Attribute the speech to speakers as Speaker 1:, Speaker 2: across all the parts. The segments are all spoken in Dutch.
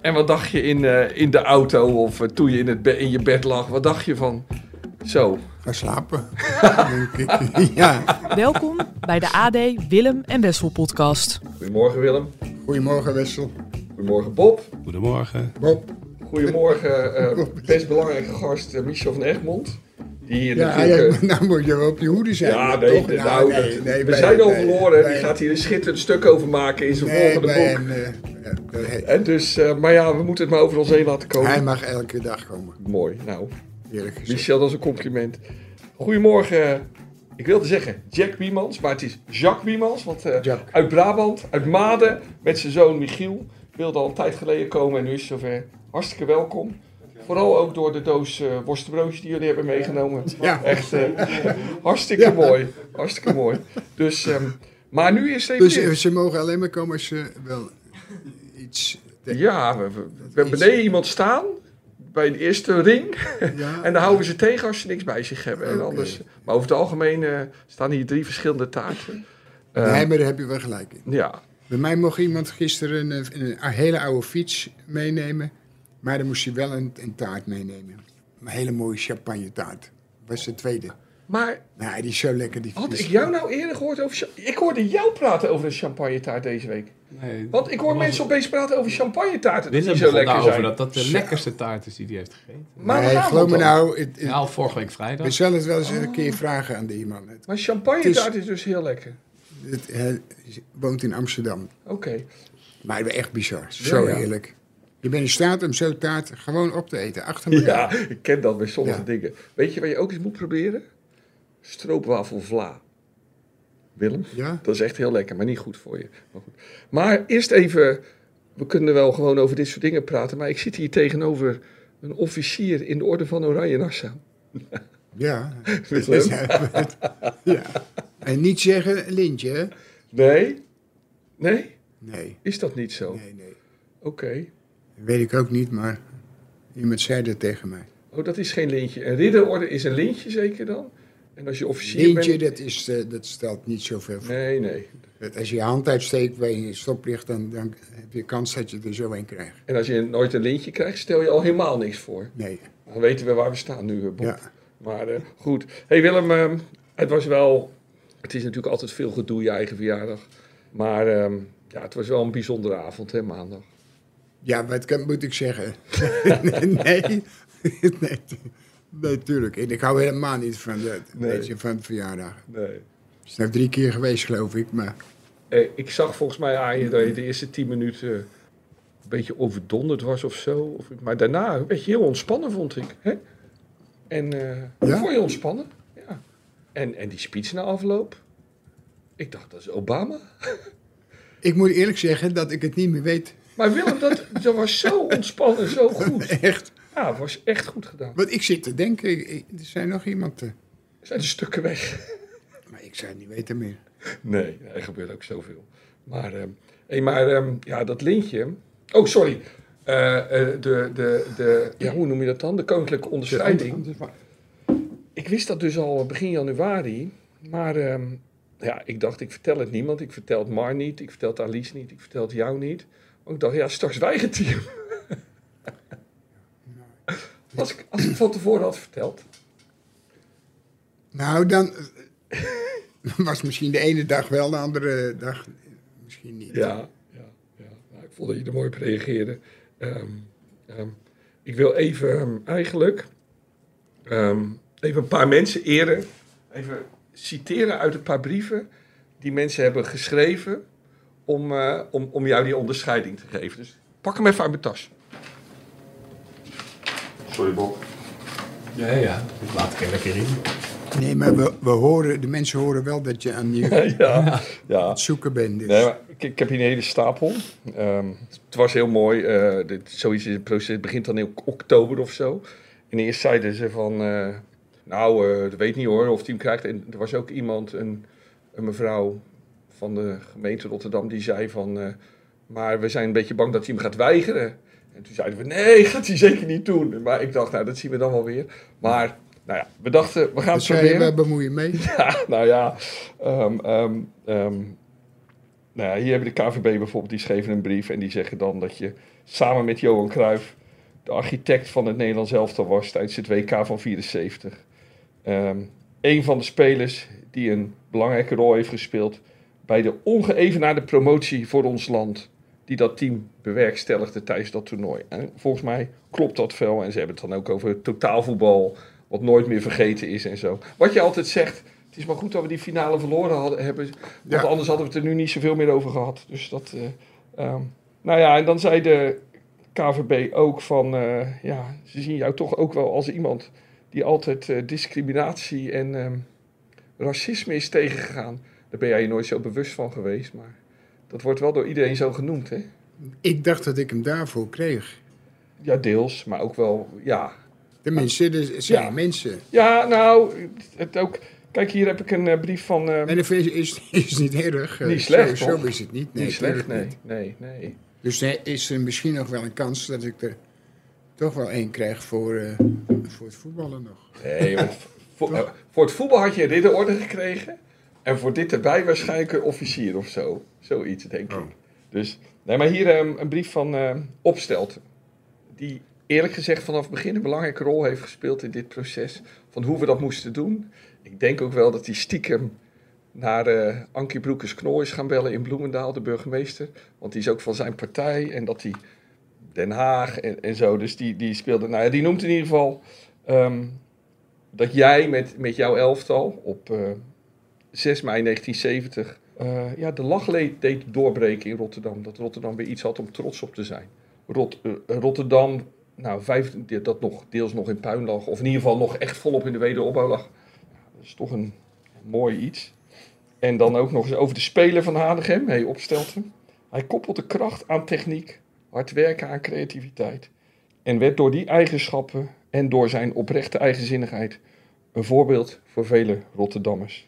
Speaker 1: En wat dacht je in, eh, in de auto of eh, toen je in, het be- in je bed lag? Wat dacht je van zo?
Speaker 2: Ga slapen, denk ik. Ja.
Speaker 3: Welkom bij de AD Willem en Wessel podcast.
Speaker 1: Goedemorgen Willem.
Speaker 2: Goedemorgen, Wessel.
Speaker 1: Goedemorgen Bob.
Speaker 4: Goedemorgen.
Speaker 2: Bob.
Speaker 1: Goedemorgen eh, best belangrijke gast eh, Michel van Egmond. Die hier
Speaker 2: Ja,
Speaker 1: natuurlijk... eh,
Speaker 2: ja, nou moet je wel op je hoede zijn.
Speaker 1: ja,
Speaker 2: maar
Speaker 1: nee,
Speaker 2: toch,
Speaker 1: de-
Speaker 2: nou,
Speaker 1: nou,
Speaker 2: nee,
Speaker 1: de-
Speaker 2: nee,
Speaker 1: we
Speaker 2: bij-
Speaker 1: zijn al
Speaker 2: nee,
Speaker 1: verloren.
Speaker 2: bij-
Speaker 1: Die gaat hier een schitterend stuk over maken in zijn
Speaker 2: nee,
Speaker 1: volgende
Speaker 2: bij
Speaker 1: boek.
Speaker 2: een, eh, eh, nee,
Speaker 1: En dus, eh, maar ja, we moeten het maar over ons heen laten komen.
Speaker 2: Hij mag elke dag komen,
Speaker 1: Mooi, nou.
Speaker 2: eerlijk gezegd.
Speaker 1: Michel, dat is een compliment. Goedemorgen, ik wilde zeggen Jack Wiemans, maar het is Jacques Wiemans. Want eh,
Speaker 2: Jack.
Speaker 1: uit Brabant, uit Maden, met zijn zoon Michiel. Wilde al een tijd geleden komen en nu is het zover. Hartstikke welkom. Vooral ook door de doos eh worstenbroodjes die jullie hebben meegenomen.
Speaker 2: Ja.
Speaker 1: Echt eh, hartstikke mooi. Hartstikke mooi. Dus, ehm, maar nu is even.
Speaker 2: Dus
Speaker 1: dit.
Speaker 2: eh, ze mogen alleen maar komen als ze wel iets... te-
Speaker 1: ja, we, we- we hebben beneden iemand staan. Bij de eerste ring.
Speaker 2: Ja,
Speaker 1: En dan houden we ze tegen als ze niks bij zich hebben. En
Speaker 2: Oké.
Speaker 1: anders, maar over het algemeen eh, staan hier drie verschillende taarten. Eh,
Speaker 2: nee, maar daar heb je wel gelijk in.
Speaker 1: Ja,
Speaker 2: Bij mij mocht iemand gisteren een, een, hele oude fiets meenemen. Maar dan moest hij wel een, een taart meenemen. Een hele mooie champagne taart. Was de tweede.
Speaker 1: maar
Speaker 2: Nou, die is zo lekker, die
Speaker 1: had
Speaker 2: fiets.
Speaker 1: ik jou nou eerder gehoord over... cha- Ik hoorde jou praten over een champagnetaart deze week.
Speaker 4: Nee,
Speaker 1: Want ik hoor
Speaker 4: was-
Speaker 1: mensen opeens praten over champagnetaarten dat
Speaker 4: Willem
Speaker 1: die zo
Speaker 4: begon
Speaker 1: lekker
Speaker 4: daarover dat
Speaker 1: zijn.
Speaker 4: dat de lekkerste taart is die hij heeft gegeten.
Speaker 1: Maar
Speaker 2: nee,
Speaker 1: vanavond
Speaker 2: geloof me
Speaker 1: dan.
Speaker 2: nou, het, het-
Speaker 4: Ja, al vorige week
Speaker 2: we
Speaker 4: vrijdag.
Speaker 2: zullen het wel eens een keer vragen aan die man. Het,
Speaker 1: Maar champagnetaart is dus heel lekker.
Speaker 2: het- hij woont in Amsterdam.
Speaker 1: Oké.
Speaker 2: Maar echt bizar. Zo
Speaker 1: ja.
Speaker 2: heerlijk. Je bent in staat om zo'n taart gewoon op te eten, achter elkaar.
Speaker 1: Ja, ik ken dat bij sommige
Speaker 2: Ja.
Speaker 1: dingen. Weet je wat je ook eens moet proberen? Stroopwafel vla. Willem?
Speaker 2: Ja?
Speaker 1: Dat is echt heel lekker, maar niet goed voor je. Maar, goed. maar eerst even, we kunnen wel gewoon over dit soort dingen praten, maar ik zit hier tegenover een officier in de Orde van Oranje Nassau.
Speaker 2: Ja.
Speaker 1: Willem?
Speaker 2: ja. En niet zeggen lintje, hè?
Speaker 1: Nee? Nee?
Speaker 2: Nee,
Speaker 1: Is dat niet zo?
Speaker 2: nee, nee.
Speaker 1: Oké.
Speaker 2: Dat weet ik ook niet, maar iemand zei dat tegen mij.
Speaker 1: Oh, dat is geen lintje. Een ridderorde is een lintje zeker dan? En als je officier
Speaker 2: Lintje,
Speaker 1: bent...
Speaker 2: dat, is, eh, dat stelt niet zoveel voor.
Speaker 1: Nee, nee.
Speaker 2: Dat Als je je hand uitsteekt bij je stoplicht, dan, dan heb je kans dat je er zo een krijgt.
Speaker 1: En als je nooit een lintje krijgt, stel je al helemaal niks voor.
Speaker 2: Nee,
Speaker 1: Dan weten we waar we staan nu, eh, Bob.
Speaker 2: ja.
Speaker 1: Maar eh, goed. hey Willem, ehm, het was wel... Het is natuurlijk altijd veel gedoe, je eigen verjaardag. Maar ehm, ja, het was wel een bijzondere avond, hè, maandag.
Speaker 2: Ja, wat kan, moet ik zeggen? nee, nee, nee, natuurlijk. En ik hou helemaal niet van, dat,
Speaker 1: Nee.
Speaker 2: weet je, van verjaardag.
Speaker 1: Nee.
Speaker 2: Het is nou drie keer geweest, geloof ik. Maar
Speaker 1: Eh, ik zag volgens mij aan je dat je de eerste tien minuten eh, een beetje overdonderd was of zo. Of, maar daarna een beetje heel ontspannen, vond ik. Hè? En eh
Speaker 2: Ja?
Speaker 1: vond je ontspannen? Ja. En, en die speech na afloop? Ik dacht, dat is Obama.
Speaker 2: ik moet eerlijk zeggen dat ik het niet meer weet.
Speaker 1: Maar Willem, dat, dat was zo ontspannen, zo goed.
Speaker 2: Echt.
Speaker 1: Ja, Ah, het was echt goed gedaan.
Speaker 2: Want ik zit te denken, ik- ik- er zijn nog iemand. eh,
Speaker 1: Zijn de stukken weg?
Speaker 2: maar ik zou het niet weten meer.
Speaker 1: Nee, er gebeurt ook zoveel. Maar, ehm, hé, maar ehm, ja, dat lintje. Oh, sorry. Eh, eh, de, de, de, ja, hoe noem je dat dan? De koninklijke onderscheiding. Ik wist dat dus al begin januari. Maar ehm, ja, ik dacht, ik vertel het niemand. Ik vertel het Mar niet. Ik vertel het Alice niet. Ik vertel het jou niet. Want ik dacht, ja, straks weigert hij hem. Als ik, als ik van tevoren had verteld.
Speaker 2: Nou, dan eh, was misschien de ene dag wel, de andere dag misschien niet.
Speaker 1: Ja, ja, ja. Nou, ik vond dat je er mooi op reageerde. Ehm, ehm, ik wil even ehm, eigenlijk ehm, even een paar mensen eren. Even citeren uit een paar brieven die mensen hebben geschreven om, eh, om, om jou die onderscheiding te geven. Dus pak hem even uit mijn tas.
Speaker 4: Ja, ja, dat laat ik er lekker in.
Speaker 2: Nee, maar we, we horen, de mensen horen wel dat je aan je
Speaker 1: ja, ja.
Speaker 2: zoeken bent. Dus.
Speaker 1: Nee, maar ik, ik heb hier een hele stapel. Ehm, het was heel mooi. eh, dit, zoiets is het proces. Het begint dan in oktober of zo. En eerst zeiden ze van... eh, nou, eh, dat weet niet hoor of hij hem krijgt. En er was ook iemand, een, een mevrouw van de gemeente Rotterdam... die zei van... eh, maar we zijn een beetje bang dat hij hem gaat weigeren. En toen zeiden we... Nee, gaat hij zeker niet doen. Maar ik dacht, nou, dat zien we dan wel weer. Maar... Nou ja, we dachten, we gaan
Speaker 2: Dat
Speaker 1: het
Speaker 2: zei je,
Speaker 1: proberen.
Speaker 2: we bemoeien mee.
Speaker 1: Ja, nou ja. ehm, ehm, ehm, nou ja, hier hebben de KVB bijvoorbeeld, die schreven een brief en die zeggen dan dat je samen met Johan Cruijff de architect van het Nederlands elftal was tijdens het WK van 74. Ehm een van de spelers die een belangrijke rol heeft gespeeld bij de ongeëvenaarde promotie voor ons land. Die dat team bewerkstelligde tijdens dat toernooi. En volgens mij klopt dat veel. En ze hebben het dan ook over totaalvoetbal. Wat nooit meer vergeten is en zo. Wat je altijd zegt. Het is maar goed dat we die finale verloren hadden, hebben. Want
Speaker 2: Ja.
Speaker 1: anders hadden we het er nu niet zoveel meer over gehad. Dus dat. eh, ehm, nou ja, en dan zei de KVB ook van. eh, ja, ze zien jou toch ook wel als iemand die altijd eh, discriminatie en ehm, racisme is tegengegaan. Daar ben jij je nooit zo bewust van geweest, maar dat wordt wel door iedereen zo genoemd, hè?
Speaker 2: Ik dacht dat ik hem daarvoor kreeg.
Speaker 1: Ja, deels, maar ook wel, ja.
Speaker 2: De mensen, er dus, zijn
Speaker 1: Ja.
Speaker 2: mensen.
Speaker 1: Ja, nou, het ook... Kijk, hier heb ik een eh, brief van... eh,
Speaker 2: En dat is, is, is niet erg. eh,
Speaker 1: Niet slecht,
Speaker 2: Zo,
Speaker 1: toch?
Speaker 2: zo is het niet. Nee,
Speaker 1: niet slecht,
Speaker 2: tuurlijk
Speaker 1: nee,
Speaker 2: niet.
Speaker 1: nee, nee.
Speaker 2: Dus er is er misschien nog wel een kans dat ik er toch wel één krijg voor, eh, voor het voetballen nog.
Speaker 1: Nee, want voor, eh, voor het voetbal had je een ridderorde gekregen. En voor dit erbij waarschijnlijk een officier of zo. Zoiets, denk ik. Dus, nee, maar hier ehm, een brief van ehm Opstelt. Die eerlijk gezegd vanaf het begin een belangrijke rol heeft gespeeld in dit proces. Van hoe we dat moesten doen. Ik denk ook wel dat hij stiekem naar eh Ankie Broekers-Knol is gaan bellen in Bloemendaal, de burgemeester. Want die is ook van zijn partij. En dat hij Den Haag en, en zo. Dus die, die speelde. Nou ja, die noemt in ieder geval. ehm, dat jij met, met jouw elftal op eh, 6 mei 1970 eh, ja, de lach le- deed doorbreken in Rotterdam. Dat Rotterdam weer iets had om trots op te zijn. Rot, eh, Rotterdam, nou, vijf, dat nog, deels nog in puin lag, of in ieder geval nog echt volop in de wederopbouw lag. Ja, dat is toch een mooi iets. En dan ook nog eens over de speler van Hanegem, hey, Opstelten. Hij koppelde kracht aan techniek, hard werken aan creativiteit. En werd door die eigenschappen en door zijn oprechte eigenzinnigheid een voorbeeld voor vele Rotterdammers.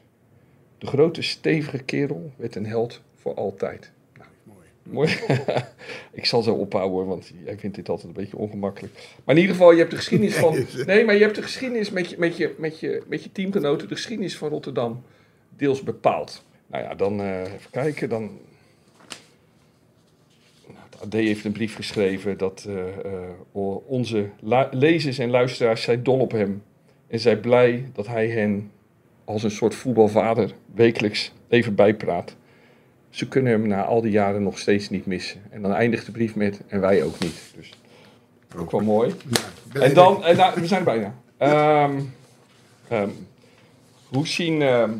Speaker 1: De grote stevige kerel werd een held voor altijd. Mooi. Mooi. ik zal zo ophouden, hoor, want jij vindt dit altijd een beetje ongemakkelijk. Maar in ieder geval, je hebt de geschiedenis van. Nee, maar je hebt de geschiedenis met je, met je, met je, met je teamgenoten, de geschiedenis van Rotterdam deels bepaald. Nou ja, dan eh, even kijken. Dan... Nou, het AD heeft een brief geschreven dat eh, eh, o- onze lu- lezers en luisteraars zijn dol op hem. En zijn blij dat hij hen als een soort voetbalvader wekelijks even bijpraat. Ze kunnen hem na al die jaren nog steeds niet missen. En dan eindigt de brief met en wij ook niet. Dus ook wel mooi. En dan, en nou, we zijn er bijna. Ehm, ehm, hoe zien ehm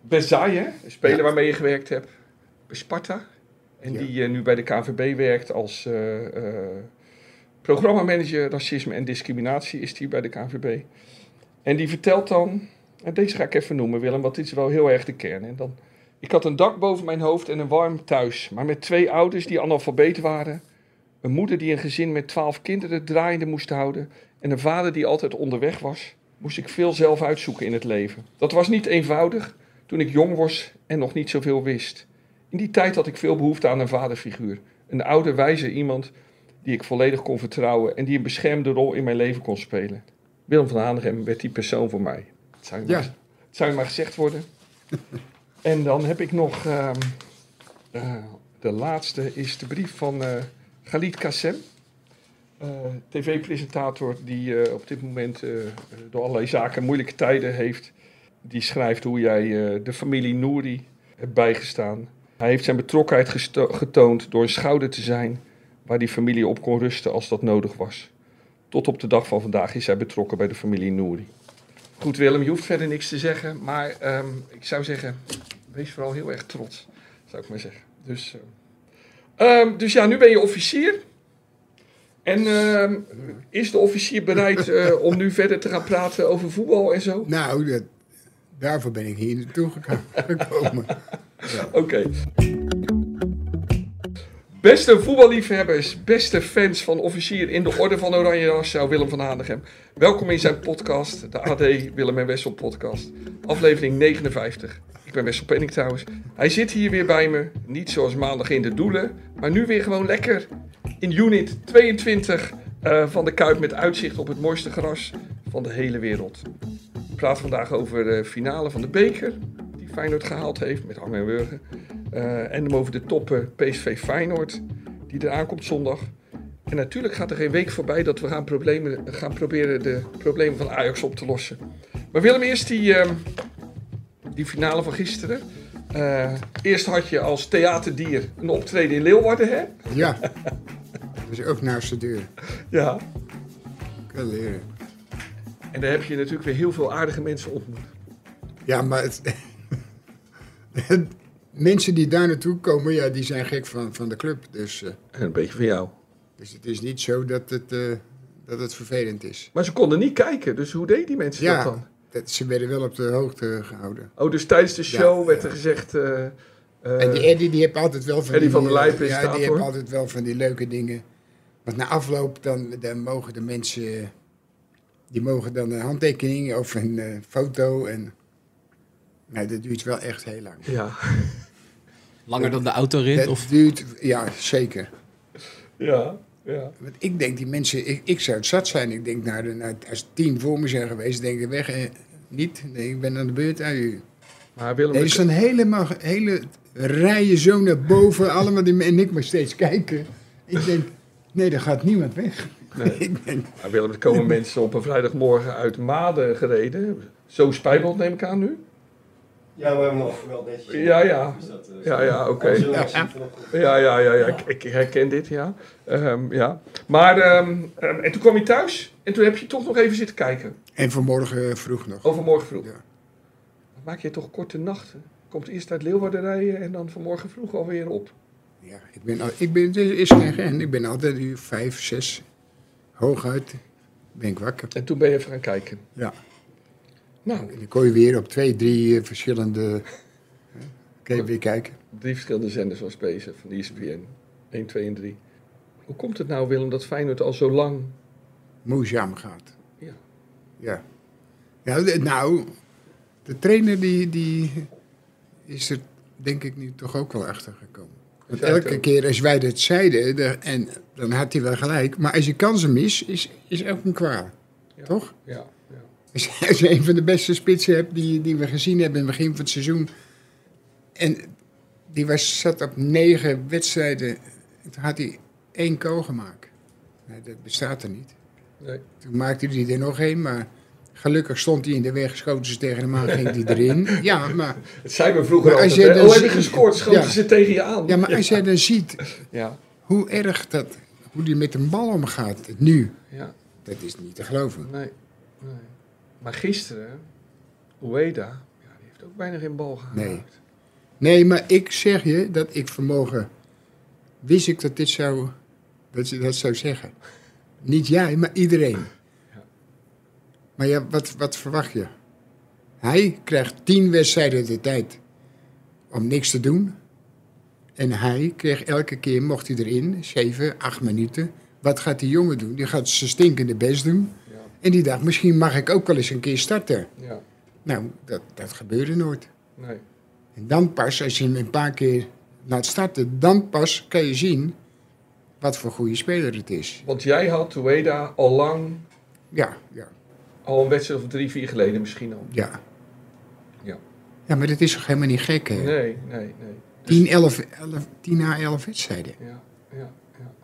Speaker 1: Bezaye, een speler
Speaker 2: Ja.
Speaker 1: waarmee je gewerkt hebt, bij Sparta. En
Speaker 2: Ja.
Speaker 1: die eh, nu bij de KVB werkt als eh, eh, programmamanager racisme en discriminatie is die bij de KVB. En die vertelt dan, en deze ga ik even noemen Willem, want dit is wel heel erg de kern. En dan, ik had een dak boven mijn hoofd en een warm thuis, maar met twee ouders die analfabeet waren. Een moeder die een gezin met twaalf kinderen draaiende moest houden. En een vader die altijd onderweg was. Moest ik veel zelf uitzoeken in het leven. Dat was niet eenvoudig toen ik jong was en nog niet zoveel wist. In die tijd had ik veel behoefte aan een vaderfiguur. Een oude, wijze iemand die ik volledig kon vertrouwen. En die een beschermde rol in mijn leven kon spelen. Willem van Hanegem werd die persoon voor mij. Het zou je,
Speaker 2: Ja.
Speaker 1: maar, het zou je maar gezegd worden. en dan heb ik nog... ehm, eh, de laatste is de brief van eh Galit Kassem. eh, TV-presentator die eh, op dit moment eh, door allerlei zaken moeilijke tijden heeft. Die schrijft hoe jij eh, de familie Nouri hebt bijgestaan. Hij heeft zijn betrokkenheid gesto- getoond door een schouder te zijn waar die familie op kon rusten als dat nodig was. Tot op de dag van vandaag is hij betrokken bij de familie Nouri. Goed Willem, je hoeft verder niks te zeggen, maar ehm, ik zou zeggen, wees vooral heel erg trots zou ik maar zeggen. Dus, eh, ehm, dus ja, nu ben je officier. En ehm, is de officier bereid eh, om nu verder te gaan praten over voetbal en zo?
Speaker 2: Nou, dat, Daarvoor ben ik hier naartoe geka- gekomen. Ja.
Speaker 1: Oké. Beste voetballiefhebbers, beste fans van officier in de orde van Oranje Nassau, Willem van Hanegem. Welkom in zijn podcast, de AD Willem en Wessel podcast, aflevering 59. Ik ben Wessel Penning trouwens. Hij zit hier weer bij me, niet zoals maandag in de doelen, maar nu weer gewoon lekker in unit 22 eh, van de Kuip met uitzicht op het mooiste gras van de hele wereld. Ik praat vandaag over de finale van de beker, die Feyenoord gehaald heeft met Hang en Wurgen. Eh, en hem over de toppen PSV Feyenoord, die eraan komt zondag. En natuurlijk gaat er geen week voorbij dat we gaan, problemen, gaan proberen de problemen van Ajax op te lossen. Maar Willem, eerst die, ehm, die finale van gisteren. Eh, eerst had je als theaterdier een optreden in Leeuwarden, hè?
Speaker 2: ja. Dat is ook naast de deur.
Speaker 1: Ja.
Speaker 2: Kunnen leren.
Speaker 1: En daar heb je natuurlijk weer heel veel aardige mensen ontmoet.
Speaker 2: Ja, maar het, het- mensen die daar naartoe komen, ja, die zijn gek van, van de club. Dus, eh,
Speaker 1: En een beetje van jou.
Speaker 2: dus het is niet zo dat het, eh, dat het vervelend is.
Speaker 1: Maar ze konden niet kijken, dus hoe deden die mensen dat dan?
Speaker 2: Ja, dat, ze werden wel op de hoogte gehouden.
Speaker 1: Oh, dus tijdens de show
Speaker 2: Ja,
Speaker 1: werd
Speaker 2: ja.
Speaker 1: er gezegd. eh, eh,
Speaker 2: en die Eddie, die heeft altijd wel van
Speaker 1: Eddie van der Lijp is
Speaker 2: Ja,
Speaker 1: daar,
Speaker 2: die
Speaker 1: hoor.
Speaker 2: heeft altijd wel van die leuke dingen. Want na afloop, dan, dan mogen de mensen... Die mogen dan een handtekening of een eh, foto. En, nou, dat duurt wel echt heel lang.
Speaker 1: ja.
Speaker 5: Langer dan de autorit?
Speaker 2: Dat
Speaker 5: Of
Speaker 2: duurt, ja, zeker.
Speaker 1: ja, ja.
Speaker 2: Want ik denk, die mensen, ik, ik zou het zat zijn. Ik denk, nou, nou, als tien voor me zijn geweest, denk ik, weg. Eh, niet, nee, ik ben aan de beurt aan u.
Speaker 1: Maar Willem,
Speaker 2: Er
Speaker 1: ik-
Speaker 2: is dan helemaal, hele rijen zo naar boven, allemaal die, en ik maar steeds kijken. Ik denk, nee, daar gaat niemand weg.
Speaker 1: nee.
Speaker 2: Ik denk,
Speaker 1: maar Willem, er komen mensen op een vrijdagmorgen uit Maden gereden. Zo spijbelt neem ik aan nu.
Speaker 6: Ja, we hebben nog wel netjes.
Speaker 1: Ja, ja.
Speaker 6: Dus dat, eh,
Speaker 1: Ja, ja, oké.
Speaker 6: zullen we zien vanochtend.
Speaker 1: Ja, ja, ja, ja. Ik, ik herken dit, ja. Ehm, ja. Maar, ehm, ehm, en toen kwam je thuis en toen heb je toch nog even zitten kijken.
Speaker 2: en vanmorgen eh, vroeg nog.
Speaker 1: Overmorgen vroeg.
Speaker 2: Ja.
Speaker 1: Maak je toch korte nachten? Komt eerst uit Leeuwarden rijden en dan vanmorgen vroeg alweer op.
Speaker 2: Ja, ik ben, al- ik ben, het is geen geheim. Ik ben altijd uur vijf, zes, hooguit, ben ik wakker.
Speaker 1: En toen ben je even gaan kijken.
Speaker 2: Ja.
Speaker 1: Nou,
Speaker 2: En dan kon je weer op twee, drie eh, verschillende. hè, Kun je weer kijken.
Speaker 1: drie verschillende zenders was bezig van E ESPN. 1, 2 en 3. Hoe komt het nou, Willem, dat Feyenoord al zo lang...
Speaker 2: Moeizaam gaat.
Speaker 1: Ja.
Speaker 2: Ja. ja de- nou, de trainer die, die is er denk ik nu toch ook wel achter gekomen. Want
Speaker 1: zei het
Speaker 2: elke
Speaker 1: ook.
Speaker 2: keer als wij dat zeiden, de- en, dan had hij wel gelijk. Maar als je kansen mis, is, is ook een kwaal.
Speaker 1: Ja.
Speaker 2: Toch?
Speaker 1: Ja, ja.
Speaker 2: Als je- als je een van de beste spitsen hebt die, die we gezien hebben in het begin van het seizoen. En die was, zat op negen wedstrijden. En Toen had hij één goal gemaakt. Nou, dat bestaat er niet.
Speaker 1: Nee.
Speaker 2: Toen maakte hij er nog één, maar gelukkig stond hij in de weg. Schoten ze tegen hem aan, ging hij erin. Ja, maar,
Speaker 1: Het zei me vroeger
Speaker 2: Maar als
Speaker 1: altijd,
Speaker 2: jij
Speaker 1: hè.
Speaker 2: dan
Speaker 1: Oh, heb je
Speaker 2: ziet-
Speaker 1: gescoord? Schoten
Speaker 2: Ja.
Speaker 1: ze tegen je aan?
Speaker 2: ja, maar als jij dan ziet
Speaker 1: Ja,
Speaker 2: hoe erg dat, hoe hij met een bal omgaat nu.
Speaker 1: ja,
Speaker 2: Dat is niet te geloven.
Speaker 1: nee, nee. Maar gisteren, Ueda, ja, die heeft ook bijna geen bal gehaald.
Speaker 2: Nee. Nee, maar ik zeg je dat ik vanmorgen wist ik dat dit zou, dat ze dat zou zeggen. Niet jij, maar iedereen. Maar ja, wat, wat verwacht je? Hij krijgt tien wedstrijden de tijd om niks te doen. En hij kreeg elke keer, mocht hij erin, zeven, acht minuten. Wat gaat die jongen doen? Die gaat zijn stinkende best doen.
Speaker 1: Ja.
Speaker 2: En die dacht, misschien mag ik ook wel eens een keer starten.
Speaker 1: Ja,
Speaker 2: Nou, dat, dat gebeurde nooit.
Speaker 1: nee.
Speaker 2: En dan pas, als je hem een paar keer laat starten, dan pas kan je zien wat voor goede speler het is.
Speaker 1: Want jij had Ueda al lang,
Speaker 2: Ja, ja,
Speaker 1: al een wedstrijd of drie, vier geleden misschien al.
Speaker 2: ja.
Speaker 1: Ja.
Speaker 2: Ja, maar dat is toch helemaal niet gek, hè?
Speaker 1: Nee, dus- nee, nee.
Speaker 2: 10, 11, 11, 10 à 11 wedstrijden.
Speaker 1: Ja, ja, ja.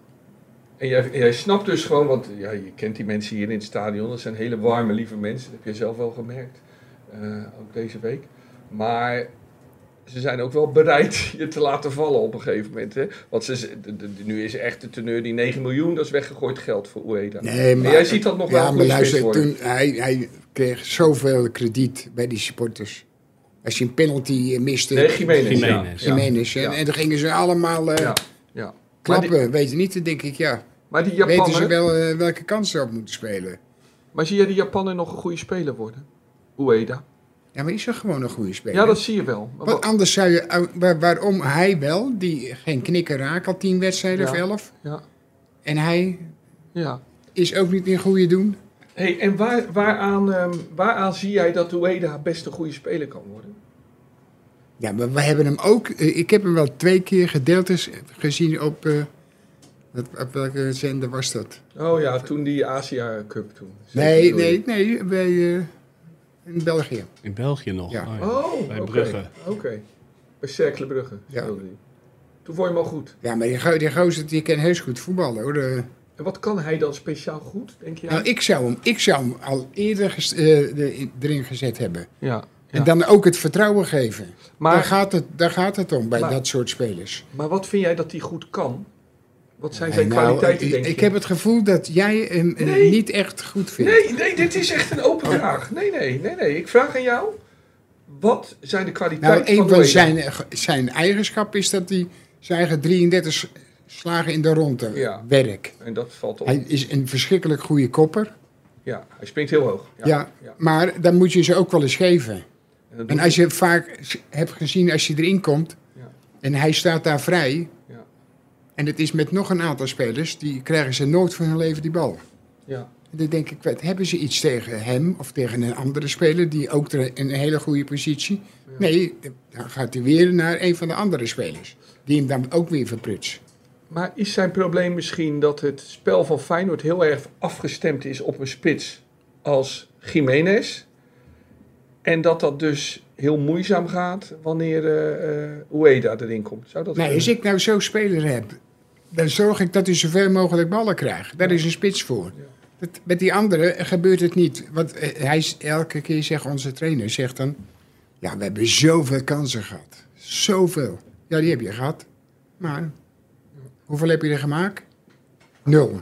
Speaker 1: En jij, jij snapt dus gewoon, want ja, je kent die mensen hier in het stadion. Dat zijn hele warme, lieve mensen. Dat heb je zelf wel gemerkt. eh, ook deze week. Maar ze zijn ook wel bereid je te laten vallen op een gegeven moment. Hè? Want ze, ze- de- de- de- nu is echt de teneur die 9 miljoen, dat is weggegooid geld voor Ueda.
Speaker 2: Nee, maar...
Speaker 1: En jij ziet dat nog wel
Speaker 2: Ja, maar
Speaker 1: goed spits
Speaker 2: luister,
Speaker 1: worden.
Speaker 2: toen, hij, hij kreeg zoveel krediet bij die supporters. Als je een penalty eh, miste...
Speaker 1: Nee, Jiménez.
Speaker 5: Jiménez.
Speaker 1: Ja, ja,
Speaker 2: Jiménez, hè,
Speaker 1: Ja.
Speaker 2: En dan gingen ze allemaal eh,
Speaker 1: ja, ja. Maar
Speaker 2: klappen,
Speaker 1: die,
Speaker 2: weet je niet? Dan denk ik, ja,
Speaker 1: maar die
Speaker 2: weten ze
Speaker 1: Japaner,
Speaker 2: wel eh, welke kans ze op moeten spelen?
Speaker 1: maar zie jij die Japaner nog een goede speler worden? Ueda.
Speaker 2: Ja, maar is er gewoon een goede speler?
Speaker 1: Ja, dat zie je wel. Maar
Speaker 2: Want
Speaker 1: wat-
Speaker 2: anders zou je... uh, waar- waarom hij wel, die geen knikker raakt al tien wedstrijden
Speaker 1: Ja.
Speaker 2: of elf.
Speaker 1: Ja,
Speaker 2: En hij
Speaker 1: ja.
Speaker 2: is ook niet in goede doen.
Speaker 1: Hey, en waar, waaraan, ehm, waaraan zie jij dat Ueda best een goede speler kan worden?
Speaker 2: Ja, maar we hebben hem ook... eh, ik heb hem wel twee keer gedeeltes gezien op... eh, wat- op welke zender was dat?
Speaker 1: Oh ja, toen die Asia Cup toen. Zeker,
Speaker 2: Nee,
Speaker 1: sorry.
Speaker 2: nee, nee. Bij, eh, in België.
Speaker 4: In België nog.
Speaker 2: Ja.
Speaker 4: Oh, ja.
Speaker 1: Oh,
Speaker 4: Bij
Speaker 1: oké.
Speaker 4: Brugge.
Speaker 1: Oké. Bij Cercle Brugge.
Speaker 2: Ja.
Speaker 1: speelde hij. Toen vond je hem al goed.
Speaker 2: Ja, maar die, go- die gozer die kan heel goed voetballen hoor. De-
Speaker 1: En wat kan hij dan speciaal goed, denk je?
Speaker 2: Nou, ik zou hem, ik zou hem al eerder ges- eh, de- in- erin gezet hebben.
Speaker 1: ja.
Speaker 2: En dan ook het vertrouwen geven.
Speaker 1: Maar,
Speaker 2: daar, gaat het, daar gaat het om bij
Speaker 1: Maar-
Speaker 2: dat soort spelers.
Speaker 1: maar wat vind jij dat hij goed kan? Wat zijn
Speaker 2: En
Speaker 1: zijn
Speaker 2: nou,
Speaker 1: kwaliteiten,
Speaker 2: ik-
Speaker 1: denk
Speaker 2: ik
Speaker 1: je?
Speaker 2: heb het gevoel dat jij hem eh,
Speaker 1: Nee.
Speaker 2: niet echt goed vindt.
Speaker 1: Nee, nee, dit is echt een open
Speaker 2: Oh.
Speaker 1: vraag. Nee, nee, nee, nee. Ik vraag aan jou. Wat zijn de
Speaker 2: Nou,
Speaker 1: kwaliteiten
Speaker 2: een
Speaker 1: van
Speaker 2: van
Speaker 1: Ueda?
Speaker 2: zijn, zijn eigenschap is dat hij zijn eigen 33 s- slagen in de ronde
Speaker 1: Ja.
Speaker 2: werkt.
Speaker 1: En dat valt op.
Speaker 2: Hij is een verschrikkelijk goede kopper.
Speaker 1: Ja, hij springt heel hoog.
Speaker 2: Ja. Maar dan moet je ze ook wel eens geven.
Speaker 1: En dat
Speaker 2: En
Speaker 1: doet-
Speaker 2: als je vaak s- hebt gezien als je erin komt
Speaker 1: Ja.
Speaker 2: en hij staat daar vrij.
Speaker 1: Ja.
Speaker 2: En het is met nog een aantal spelers, die krijgen ze nooit van hun leven die bal.
Speaker 1: ja.
Speaker 2: En dan denk ik, wat, hebben ze iets tegen hem of tegen een andere speler die ook ter- in een hele goede positie? Nee, dan gaat hij weer naar een van de andere spelers. Die hem dan ook weer verpruts.
Speaker 1: Maar is zijn probleem misschien dat het spel van Feyenoord heel erg afgestemd is op een spits als Jiménez? En dat dat dus heel moeizaam gaat wanneer eh eh, Ueda erin komt. Zou dat
Speaker 2: Nee,
Speaker 1: kunnen?
Speaker 2: als ik nou zo'n speler heb, dan zorg ik dat hij zoveel mogelijk ballen krijgt. Daar is een spits voor. Dat, met die anderen gebeurt het niet. Want eh, hij is elke keer, zegt onze trainer, zegt dan... Ja, we hebben zoveel kansen gehad. Zoveel. Ja, die heb je gehad. Maar hoeveel heb je er gemaakt? Nul.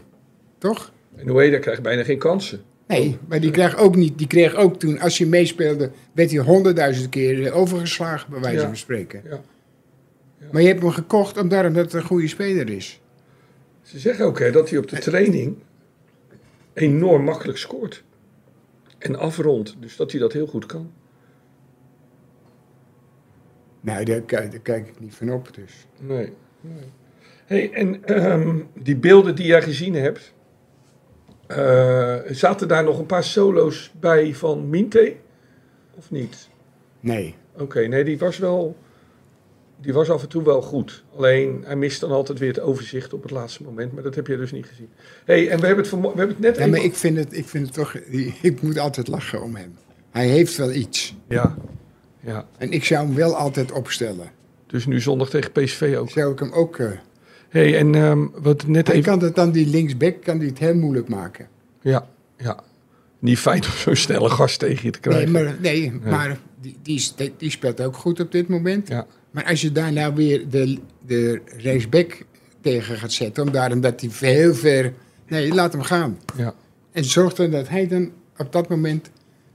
Speaker 2: Toch?
Speaker 1: En Ueda krijgt bijna geen kansen.
Speaker 2: Nee, maar die kreeg ook niet. Die kreeg ook toen, als je meespeelde, werd hij honderdduizend keer eh, overgeslagen, bij wijze
Speaker 1: Ja.
Speaker 2: van spreken.
Speaker 1: Ja.
Speaker 2: Maar je hebt hem gekocht om daarom dat het een goede speler is.
Speaker 1: Ze zeggen ook hè, dat hij op de training enorm makkelijk scoort. En afrondt. Dus dat hij dat heel goed kan.
Speaker 2: Nou, daar, ki- daar kijk ik niet van op. Dus.
Speaker 1: Nee. Hey, en ehm, die beelden die jij gezien hebt, eh, zaten daar nog een paar solo's bij van Minte? Of niet?
Speaker 2: Nee.
Speaker 1: Oké, nee, die was wel. Die was af en toe wel goed. Alleen hij mist dan altijd weer het overzicht op het laatste moment. Maar dat heb je dus niet gezien. hey, en we hebben het, vanmo- we hebben het net.
Speaker 2: Ja, maar
Speaker 1: even-
Speaker 2: ik vind het, ik vind het toch. Ik moet altijd lachen om hem. Hij heeft wel iets.
Speaker 1: ja. ja.
Speaker 2: En ik zou hem wel altijd opstellen.
Speaker 1: Dus nu zondag tegen PSV ook.
Speaker 2: Zou ik hem ook. eh
Speaker 1: hey, en ehm, wat net
Speaker 2: hij
Speaker 1: even.
Speaker 2: kan dat dan die linksback kan die het heel moeilijk maken.
Speaker 1: Ja, ja. Niet fijn om zo'n snelle gast tegen je te
Speaker 2: Nee,
Speaker 1: krijgen.
Speaker 2: maar, nee, maar die, die, is- die- die speelt ook goed op dit moment.
Speaker 1: Ja.
Speaker 2: Maar als je daar nou weer de, de rechtsback tegen gaat zetten, om daarom dat hij veel ver. Nee, laat hem gaan.
Speaker 1: Ja,
Speaker 2: En zorg dan dat hij dan op dat moment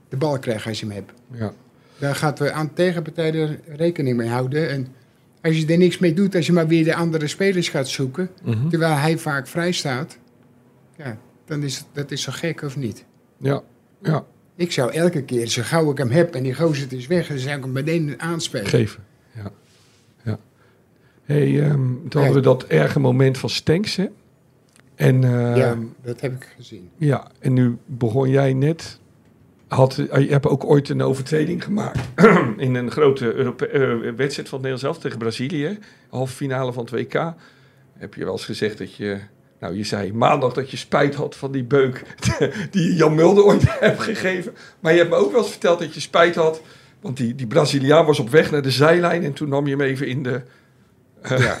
Speaker 2: de bal krijgt als je hem hebt.
Speaker 1: ja.
Speaker 2: Daar gaat we aan tegenpartij er rekening mee houden. En als je er niks mee doet, als je maar weer de andere spelers gaat zoeken,
Speaker 1: Mhm.
Speaker 2: terwijl hij vaak vrij staat, ja, dan is dat is zo gek of niet.
Speaker 1: Ja, ja.
Speaker 2: Ik zou elke keer, zo gauw ik hem heb en die gozer het is weg, dan zou ik hem meteen aanspelen.
Speaker 1: Geven. Ja. ja. hey, ehm, toen hadden we
Speaker 2: Ja.
Speaker 1: dat erge moment van Stenks, hè? En, ehm,
Speaker 2: ja,
Speaker 1: ja.
Speaker 2: dat heb ik gezien.
Speaker 1: en nu begon jij net... Had, eh, je hebt ook ooit een overtreding gemaakt in een grote Europe- eh, wedstrijd van het Nederlands zelf tegen Brazilië. Halve finale van het WK. Heb je wel eens gezegd dat je... Nou, je zei maandag dat je spijt had van die beuk die Jan Mulder ooit hebt gegeven. Maar je hebt me ook wel eens verteld dat je spijt had. Want die, die Braziliaan was op weg naar de zijlijn en toen nam je hem even in de, eh,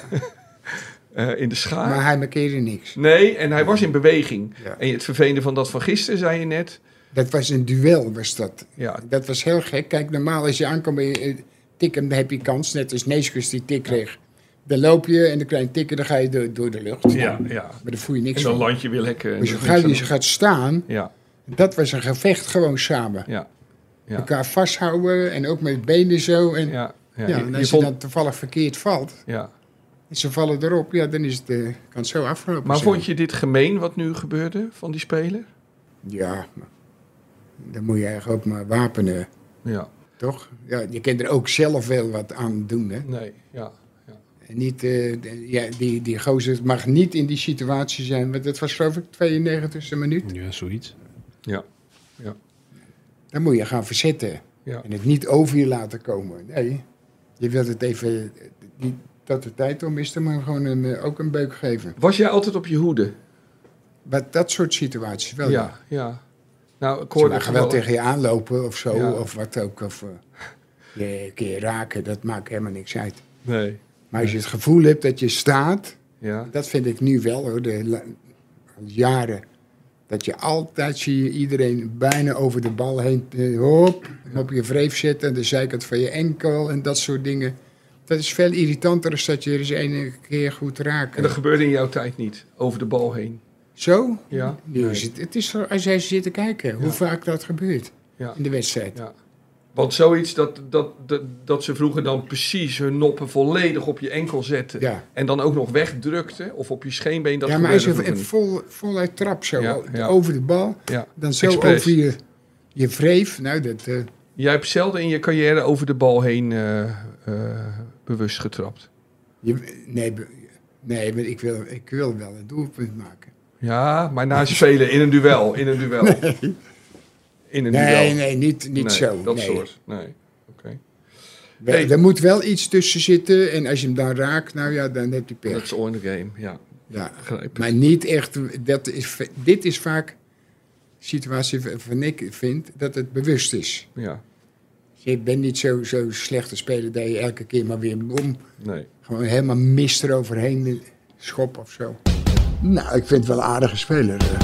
Speaker 1: eh, in de schaar.
Speaker 2: Maar hij markeerde niks.
Speaker 1: Nee, en hij was in beweging.
Speaker 2: Ja.
Speaker 1: En het vervelende van dat van gisteren, zei je net.
Speaker 2: Dat was een duel, was dat.
Speaker 1: Ja,
Speaker 2: Dat was heel gek. Kijk, normaal als je aankomt en je eh, tik hem, dan heb je kans. Net als Neeskus die tik kreeg. Dan loop je en dan krijg je tikken, dan ga je door, door de lucht.
Speaker 1: ja, ja.
Speaker 2: Maar daar voel je niks
Speaker 1: En zo'n
Speaker 2: van.
Speaker 1: landje wil hekken. en
Speaker 2: Maar zo
Speaker 1: dat is
Speaker 2: gauw
Speaker 1: niks
Speaker 2: die
Speaker 1: aan-
Speaker 2: gaat staan,
Speaker 1: Ja,
Speaker 2: dat was een gevecht gewoon samen.
Speaker 1: ja, ja.
Speaker 2: Elkaar vasthouden en ook met benen zo. En, ja,
Speaker 1: ja. ja.
Speaker 2: en
Speaker 1: Je
Speaker 2: als je
Speaker 1: vond-
Speaker 2: dan toevallig verkeerd valt,
Speaker 1: ja.
Speaker 2: en ze vallen erop, ja, dan is het, eh, kan het zo aflopen.
Speaker 1: Maar
Speaker 2: zijn.
Speaker 1: vond je dit gemeen wat nu gebeurde van die speler?
Speaker 2: Ja, maar dan moet je eigenlijk ook maar wapenen.
Speaker 1: Ja.
Speaker 2: Toch? Ja, je kunt er ook zelf wel wat aan doen, hè?
Speaker 1: Nee, ja.
Speaker 2: En Niet, eh, de- ja, die, die gozer mag niet in die situatie zijn, want dat was geloof ik 92e minuut.
Speaker 4: Oh. Ja, zoiets.
Speaker 1: Ja.
Speaker 2: Dan moet je gaan verzetten
Speaker 1: Ja.
Speaker 2: en het niet over je laten komen. Nee, je wilt het even, eh, niet dat de tijd om is, dan maar gewoon een, eh, ook een beuk geven.
Speaker 1: Was jij altijd op je hoede?
Speaker 2: Maar dat soort situaties wel. Oh, ja.
Speaker 1: ja. ja. Nou, ik
Speaker 2: Ze
Speaker 1: hoorde
Speaker 2: mag wel
Speaker 1: gewoon-
Speaker 2: tegen je aanlopen of zo,
Speaker 1: Ja.
Speaker 2: of wat ook. Of eh, je een keer raken, dat maakt helemaal niks uit.
Speaker 1: Nee.
Speaker 2: Maar als je het gevoel hebt dat je staat,
Speaker 1: Ja.
Speaker 2: dat vind ik nu wel hoor, de la- al jaren. Dat je altijd zie je iedereen bijna over de bal heen, eh, hop, hem op je wreef zetten, de zijkant van je enkel en dat soort dingen. Dat is veel irritanter dan dat je er eens ene keer goed raakt.
Speaker 1: En dat gebeurde in jouw tijd niet, over de bal heen.
Speaker 2: Zo?
Speaker 1: Ja.
Speaker 2: Nu is het, het is zo- als jij zit te kijken, hoe
Speaker 1: Ja.
Speaker 2: vaak dat gebeurt
Speaker 1: Ja.
Speaker 2: in de wedstrijd.
Speaker 1: Ja. Want zoiets dat, dat, dat, dat ze vroeger dan precies hun noppen volledig op je enkel zetten.
Speaker 2: Ja.
Speaker 1: En dan ook nog wegdrukten of op je scheenbeen. Dat
Speaker 2: ja, maar als je
Speaker 1: gebeurde vroeger
Speaker 2: v- vol, voluit trap zo
Speaker 1: Ja, ja.
Speaker 2: over de bal,
Speaker 1: niet. ja.
Speaker 2: dan zo
Speaker 1: Expres.
Speaker 2: over je, je wreef. Nou, dat, eh,
Speaker 1: Jij hebt zelden in je carrière over de bal heen eh, eh, bewust getrapt.
Speaker 2: je, nee, be- nee maar ik, wil, ik wil wel een doelpunt maken.
Speaker 1: Ja, maar na spelen in een duel. In een duel. In een duel.
Speaker 2: Nee, nee, niet, niet
Speaker 1: Nee,
Speaker 2: zo.
Speaker 1: Dat
Speaker 2: nee.
Speaker 1: soort. Nee. Oké.
Speaker 2: We-
Speaker 1: Nee.
Speaker 2: Er moet wel iets tussen zitten en als je hem dan raakt, nou ja, dan heb je
Speaker 1: Dat
Speaker 2: pech.
Speaker 1: is all in the game. Ja,
Speaker 2: Ja.
Speaker 1: begrijp ik.
Speaker 2: Maar niet echt, dat is, v- dit is vaak situatie wa- waarvan ik vind dat het bewust is.
Speaker 1: Ja.
Speaker 2: Je bent niet zo, zo slecht te spelen dat je elke keer maar weer om
Speaker 1: Nee.
Speaker 2: Gewoon helemaal mist eroverheen schop of zo. Nou, ik vind het wel een aardige speler. eh.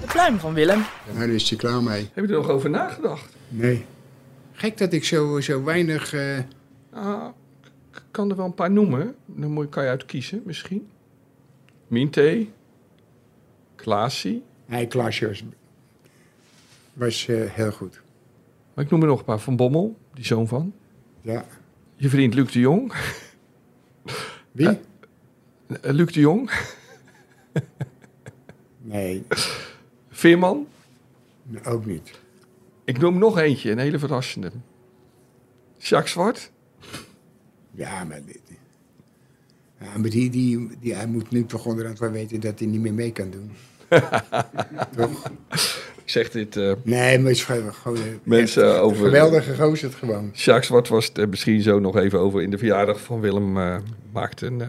Speaker 3: De pluim van Willem.
Speaker 2: Daar is hij klaar mee.
Speaker 1: Heb je er nog over nagedacht?
Speaker 2: Nee. Gek dat ik zo, zo weinig... eh,
Speaker 1: Ah, ik kan er wel een paar noemen. Dan moet, kan je uitkiezen misschien. Minte. Klaasie.
Speaker 2: Hij Klaasje was, was eh, heel goed.
Speaker 1: Maar ik noem er nog een paar. Van Bommel, die zoon van.
Speaker 2: Ja.
Speaker 1: Je vriend Luc de Jong.
Speaker 2: Wie?
Speaker 1: Eh, Luc de Jong.
Speaker 2: Nee,
Speaker 1: Veerman.
Speaker 2: ook niet.
Speaker 1: Ik noem nog eentje, een hele verrassende. Jacques Zwart.
Speaker 2: Ja, maar... dit- Ja, maar die, die, die, hij moet nu toch onderhand wel weten dat hij niet meer mee kan doen.
Speaker 1: Ik zeg dit, eh
Speaker 2: Nee, maar het is gewoon- gewoon... eh,
Speaker 1: mensen,
Speaker 2: echt een
Speaker 1: over-
Speaker 2: Geweldige gozer het gewoon.
Speaker 1: Sjaak Zwart was het er misschien zo nog even over in de verjaardag van Willem. eh maakt een eh,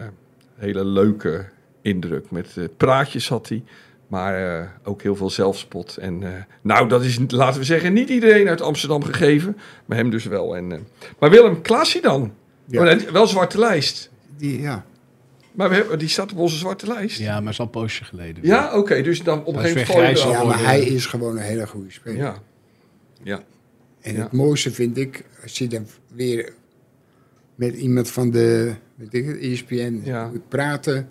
Speaker 1: hele leuke indruk. Met eh, praatjes had hij, maar eh, ook heel veel zelfspot. En eh, nou, dat is, laten we zeggen, niet iedereen uit Amsterdam gegeven. Maar hem dus wel. En, eh, maar Willem, Klaasie dan?
Speaker 2: Ja.
Speaker 1: Oh, nee, wel zwarte lijst.
Speaker 2: Die, ja.
Speaker 1: Maar we hebben, die staat op onze zwarte lijst. Ja,
Speaker 4: Ja, maar is al een poosje geleden.
Speaker 1: oké. dus dan op een
Speaker 4: Dat
Speaker 1: gegeven
Speaker 4: is weer
Speaker 1: moment val je
Speaker 4: grijs,
Speaker 1: er
Speaker 2: ja,
Speaker 1: al.
Speaker 2: maar hij is gewoon een hele goede speler.
Speaker 1: Ja. ja.
Speaker 2: En
Speaker 1: Ja.
Speaker 2: het mooiste vind ik, als je dan weer met iemand van de weet ik, het, E ESPN
Speaker 1: Ja.
Speaker 2: moet praten,